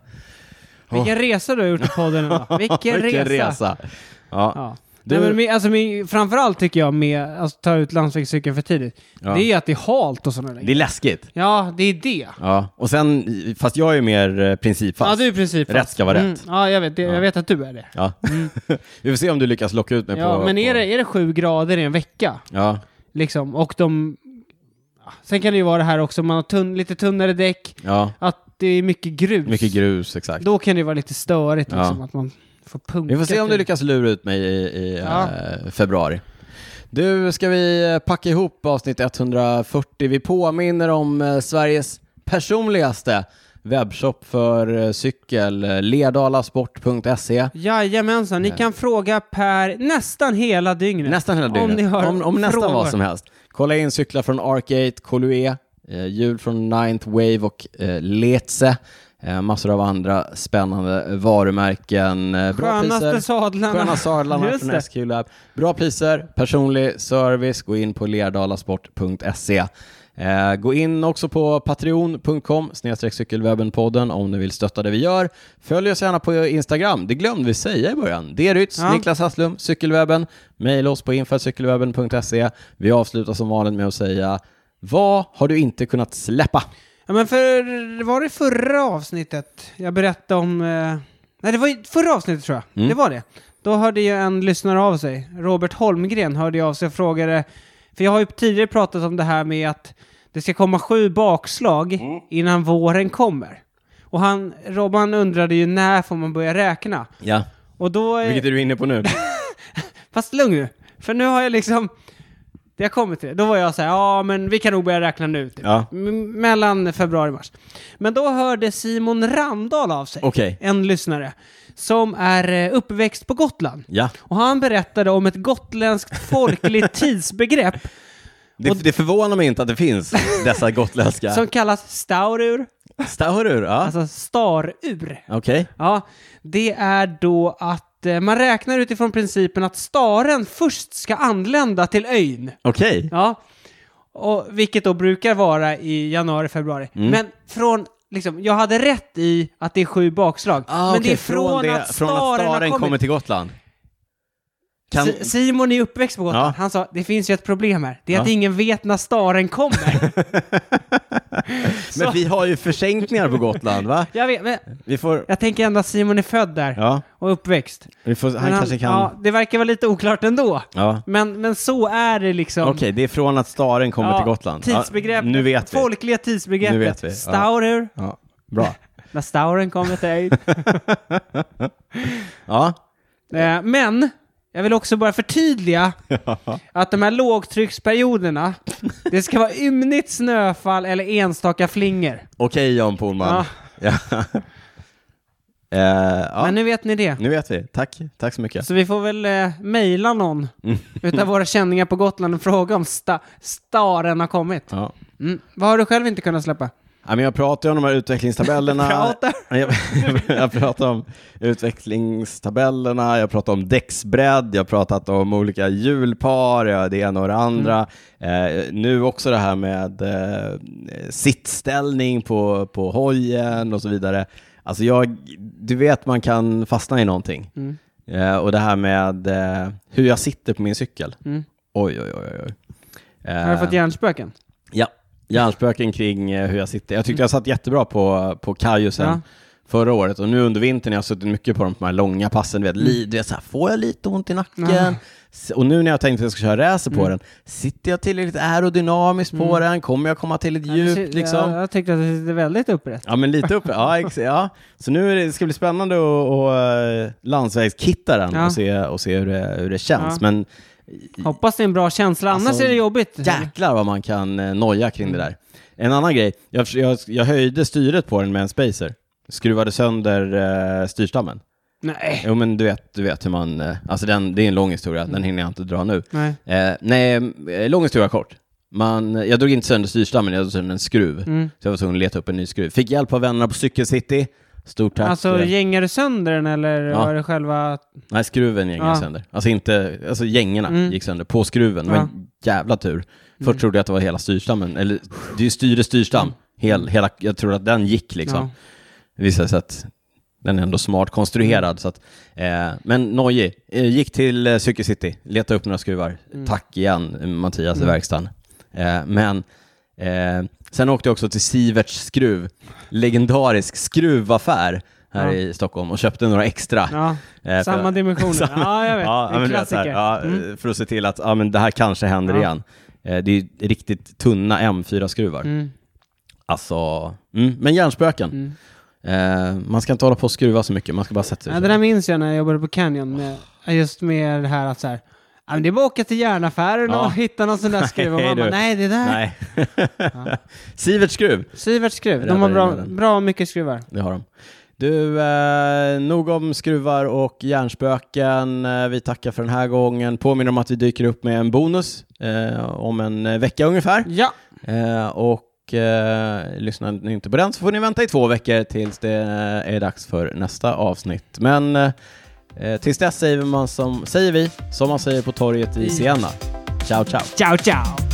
[SPEAKER 2] Vilken resa du har gjort i podden idag. Vilken, resa.
[SPEAKER 1] Ja.
[SPEAKER 2] Ja.
[SPEAKER 1] Du-
[SPEAKER 2] Nej, men, min- alltså, min, framförallt tycker jag med att alltså, ta ut landsvägscykeln för tidigt,
[SPEAKER 1] Ja.
[SPEAKER 2] det är att det är halt och sådana
[SPEAKER 1] Det
[SPEAKER 2] grejer.
[SPEAKER 1] är läskigt.
[SPEAKER 2] Ja, det är det.
[SPEAKER 1] Ja. Och sen, fast jag är ju mer eh, principfast.
[SPEAKER 2] Ja, du är Mm. i princip
[SPEAKER 1] Rätt ska vara rätt.
[SPEAKER 2] Ja, jag vet, det, jag vet att du är det.
[SPEAKER 1] Ja. Vi får se om du lyckas locka ut mig
[SPEAKER 2] Ja,
[SPEAKER 1] på...
[SPEAKER 2] men är
[SPEAKER 1] på...
[SPEAKER 2] det, är det sju grader i en vecka,
[SPEAKER 1] Ja.
[SPEAKER 2] liksom, och de... ja, Sen kan det ju vara det här också, man har tunn, lite tunnare däck,
[SPEAKER 1] ja,
[SPEAKER 2] att det är mycket grus.
[SPEAKER 1] mycket grus exakt.
[SPEAKER 2] Då kan det ju vara lite störigt,
[SPEAKER 1] Ja.
[SPEAKER 2] liksom, att man får punka.
[SPEAKER 1] Vi får se om du
[SPEAKER 2] till-
[SPEAKER 1] lyckas lura ut mig i, i
[SPEAKER 2] Ja.
[SPEAKER 1] eh, februari. Du, ska vi eh, packa ihop avsnitt 140? Vi påminner om eh, Sveriges personligaste webbshop för eh, cykel, eh, ledalasport.se.
[SPEAKER 2] Jajamensan, ni kan fråga Per nästan hela dygnet.
[SPEAKER 1] Nästan hela dygnet.
[SPEAKER 2] Om ni har
[SPEAKER 1] om, om nästan
[SPEAKER 2] frågor.
[SPEAKER 1] vad som helst. Kolla in cyklar från Arcade, Colue, eh, hjul från Ninth Wave och eh, Letze. Eh, massor av andra spännande varumärken. Eh, bra
[SPEAKER 2] Skönaste
[SPEAKER 1] priser.
[SPEAKER 2] sadlarna.
[SPEAKER 1] Sköna sadlarna
[SPEAKER 2] Just
[SPEAKER 1] från
[SPEAKER 2] det.
[SPEAKER 1] SQ Lab. Bra priser, personlig service. Gå in på lerdalasport.se. Eh, gå in också på patreon.com snedstreck cykelwebbenpodden om ni vill stötta det vi gör. Följ oss gärna på Instagram. Det glömde vi säga i början. Det är Rytz,
[SPEAKER 2] Ja.
[SPEAKER 1] Niklas Hasslum, Cykelwebben. Maila oss på info.cykelwebben.se. Vi avslutar som vanligt med att säga vad har du inte kunnat släppa?
[SPEAKER 2] Ja, men för, var det förra avsnittet jag berättade om... Eh, nej, det var i förra avsnittet tror jag. Det var det. Då hörde ju en lyssnare av sig. Robert Holmgren hörde ju av sig och frågade... För jag har ju tidigare pratat om det här med att det ska komma sju bakslag innan våren kommer. Och han, Robban undrade ju när får man börja räkna?
[SPEAKER 1] Ja,
[SPEAKER 2] Och då... eh,
[SPEAKER 1] vilket är du inne på nu?
[SPEAKER 2] Fast lugn nu, för nu har jag liksom... Det har kommit till det. Då var jag så här, ja men vi kan nog börja räkna nu. Typ.
[SPEAKER 1] Ja.
[SPEAKER 2] M- mellan februari och mars. Men då hörde Simon Randahl av sig,
[SPEAKER 1] Okej,
[SPEAKER 2] en lyssnare, som är eh, uppväxt på Gotland.
[SPEAKER 1] ja.
[SPEAKER 2] Och han berättade om ett gotländskt folkligt tidsbegrepp
[SPEAKER 1] Det, det förvånar mig inte att det finns dessa gotländska.
[SPEAKER 2] som kallas staurur,
[SPEAKER 1] Staurur, ja.
[SPEAKER 2] alltså starur.
[SPEAKER 1] Okej.
[SPEAKER 2] Ja, det är då att eh, man räknar utifrån principen att staren först ska anlända till ön.
[SPEAKER 1] Okej.
[SPEAKER 2] Ja. Och, vilket då brukar vara i januari, februari.
[SPEAKER 1] Mm.
[SPEAKER 2] Men från, liksom, jag hade rätt i att det är sju bakslag. men det är Ah, från, att
[SPEAKER 1] Ah, från att
[SPEAKER 2] staren har kommit.
[SPEAKER 1] kommer till Gotland. Kan,
[SPEAKER 2] Si- Simon är uppväxt på Gotland.
[SPEAKER 1] Ja.
[SPEAKER 2] Han sa, det finns ju ett problem här. Det är att ingen vet när staren kommer.
[SPEAKER 1] men
[SPEAKER 2] så-
[SPEAKER 1] vi har ju försänkningar på Gotland, va?
[SPEAKER 2] jag, vet, men
[SPEAKER 1] Vi får...
[SPEAKER 2] jag tänker ändå att Simon är född där
[SPEAKER 1] Ja,
[SPEAKER 2] och uppväxt.
[SPEAKER 1] vi får,
[SPEAKER 2] Men
[SPEAKER 1] han kanske kan...
[SPEAKER 2] Ja, det verkar vara lite oklart ändå.
[SPEAKER 1] ja.
[SPEAKER 2] Men, men så är det liksom.
[SPEAKER 1] Okej, det är från att staren kommer
[SPEAKER 2] Ja,
[SPEAKER 1] till Gotland. Ja,
[SPEAKER 2] Tidsbegrepp,
[SPEAKER 1] nu vet vi.
[SPEAKER 2] folkliga tidsbegreppet.
[SPEAKER 1] Nu vet vi, ja.
[SPEAKER 2] Staurur,
[SPEAKER 1] Ja, bra.
[SPEAKER 2] när stauren kommer till dig.
[SPEAKER 1] Ja,
[SPEAKER 2] Eh, Men jag vill också bara förtydliga att de här lågtrycksperioderna, det ska vara ymnigt snöfall eller enstaka flingor.
[SPEAKER 1] okej Jan Polman. Ja. Eh, ja.
[SPEAKER 2] Men nu vet ni det.
[SPEAKER 1] Nu vet vi. Tack, tack så mycket.
[SPEAKER 2] Så vi får väl eh, mejla någon
[SPEAKER 1] Mm.
[SPEAKER 2] utav våra känningar på Gotland och fråga om sta- staren har kommit.
[SPEAKER 1] Ja.
[SPEAKER 2] Mm. Vad har du själv inte kunnat släppa?
[SPEAKER 1] Ja, men jag pratar ju om de här utvecklingstabellerna.
[SPEAKER 2] Pratar.
[SPEAKER 1] Jag, jag pratar om utvecklingstabellerna, jag pratar om däcksbredd, jag har pratat om olika hjulpar, ja, det ena och det andra.
[SPEAKER 2] Mm.
[SPEAKER 1] Eh, nu också det här med eh, sittställning på, på hojen och så vidare. Alltså jag, du vet man kan fastna i någonting.
[SPEAKER 2] Mm.
[SPEAKER 1] Eh, och det här med eh, hur jag sitter på min cykel.
[SPEAKER 2] Mm.
[SPEAKER 1] Oj, oj, oj. oj, oj. Eh,
[SPEAKER 2] Har du fått hjärnspöken?
[SPEAKER 1] Ja,
[SPEAKER 2] Mm.
[SPEAKER 1] hjärnspöken kring eh, hur jag sitter. Jag tyckte jag satt jättebra på, på kajusen
[SPEAKER 2] Ja.
[SPEAKER 1] förra året och nu under vintern har jag suttit mycket på de, de här långa passen. Du vet, li- du vet, så här, får jag lite ont i nacken?
[SPEAKER 2] Mm. Ja. Mm.
[SPEAKER 1] S- Och nu när jag tänkte att jag ska köra racer på den, sitter jag tillräckligt aerodynamiskt på den? Kommer jag komma till ett djup? Liksom?
[SPEAKER 2] Jag, jag tyckte att det är väldigt upprätt.
[SPEAKER 1] Ja, men lite uppe. Ja, ex- ja. Så nu är det, det ska bli spännande att att, eh, landsvägskitta den
[SPEAKER 2] Ja.
[SPEAKER 1] och se, och se hur, det, hur det känns.
[SPEAKER 2] Ja.
[SPEAKER 1] Men
[SPEAKER 2] Hoppas det är en bra känsla, annars
[SPEAKER 1] Alltså,
[SPEAKER 2] är det jobbigt.
[SPEAKER 1] Jäklar vad man kan eh, noja kring det där. En annan grej, jag, jag, jag höjde styret på den med en spacer. Skruvade sönder eh, styrstammen.
[SPEAKER 2] Nej.
[SPEAKER 1] Jo men du vet, du vet hur man, eh, alltså den, det är en lång historia, den hinner jag inte dra nu.
[SPEAKER 2] Nej.
[SPEAKER 1] Eh, nej, eh, lång historia kort. Man, eh, jag drog inte sönder styrstammen, jag drog sönder en skruv. Så jag var tvungen att leta upp en ny skruv. Fick hjälp av vännerna på Cykelcity. Stort tack.
[SPEAKER 2] Alltså,
[SPEAKER 1] Eh,
[SPEAKER 2] gängar du sönder den eller
[SPEAKER 1] Ja.
[SPEAKER 2] var det själva...
[SPEAKER 1] Nej, skruven gängade
[SPEAKER 2] Ja.
[SPEAKER 1] sönder. Alltså inte, alltså gängorna
[SPEAKER 2] Mm.
[SPEAKER 1] gick sönder på skruven. Det var
[SPEAKER 2] Ja. Mm.
[SPEAKER 1] en jävla tur. Först trodde jag att det var hela styrstammen, eller det är ju styre styrstam. Hel, hela, jag trodde att den gick liksom.
[SPEAKER 2] Ja.
[SPEAKER 1] Det visade sig att den är ändå smart konstruerad. Så att, eh, men nojig. Eh, gick till eh, Cykelcity, letade upp några skruvar.
[SPEAKER 2] Mm.
[SPEAKER 1] Tack igen eh, Mattias i verkstaden. Eh, men eh, sen åkte jag också till Siverts skruv, legendarisk skruvaffär här
[SPEAKER 2] Ja.
[SPEAKER 1] i Stockholm och köpte några extra.
[SPEAKER 2] Ja.
[SPEAKER 1] Eh,
[SPEAKER 2] Samma
[SPEAKER 1] för-
[SPEAKER 2] dimensioner. Ja, jag vet.
[SPEAKER 1] Ja,
[SPEAKER 2] En
[SPEAKER 1] men du vet, så här,
[SPEAKER 2] klassiker.
[SPEAKER 1] ja,
[SPEAKER 2] Mm.
[SPEAKER 1] eh, För att se till att ja, men det här kanske händer
[SPEAKER 2] Ja.
[SPEAKER 1] igen. Eh, Det är ju riktigt tunna M4-skruvar.
[SPEAKER 2] Mm.
[SPEAKER 1] Alltså, mm, men hjärnspöken. Eh, man ska inte hålla på och skruva så mycket, man ska bara sätta sig.
[SPEAKER 2] Mm. Ja, det där minns jag när jag jobbade på Canyon, med, just med det här att så här, ja, men det är bara att åka till järnaffären
[SPEAKER 1] Ja.
[SPEAKER 2] och hitta någon sån där skruv. Och
[SPEAKER 1] Nej,
[SPEAKER 2] man bara,
[SPEAKER 1] du.
[SPEAKER 2] nej, det där.
[SPEAKER 1] Nej. Siverts skruv,
[SPEAKER 2] Siverts skruv. De
[SPEAKER 1] Räddar
[SPEAKER 2] har bra,
[SPEAKER 1] jorden.
[SPEAKER 2] bra mycket skruvar.
[SPEAKER 1] det har de. Du, eh, nog om skruvar och hjärnspöken. Eh, vi tackar för den här gången. Påminner om att vi dyker upp med en bonus eh, om en eh, vecka ungefär.
[SPEAKER 2] Ja,
[SPEAKER 1] Eh, och eh, lyssnar ni inte på den så får ni vänta i två veckor tills det eh, är dags för nästa avsnitt. Men eh, eh, tills dess säger, man som, säger vi som man säger på torget i Siena. Ciao, ciao!
[SPEAKER 2] ciao ciao!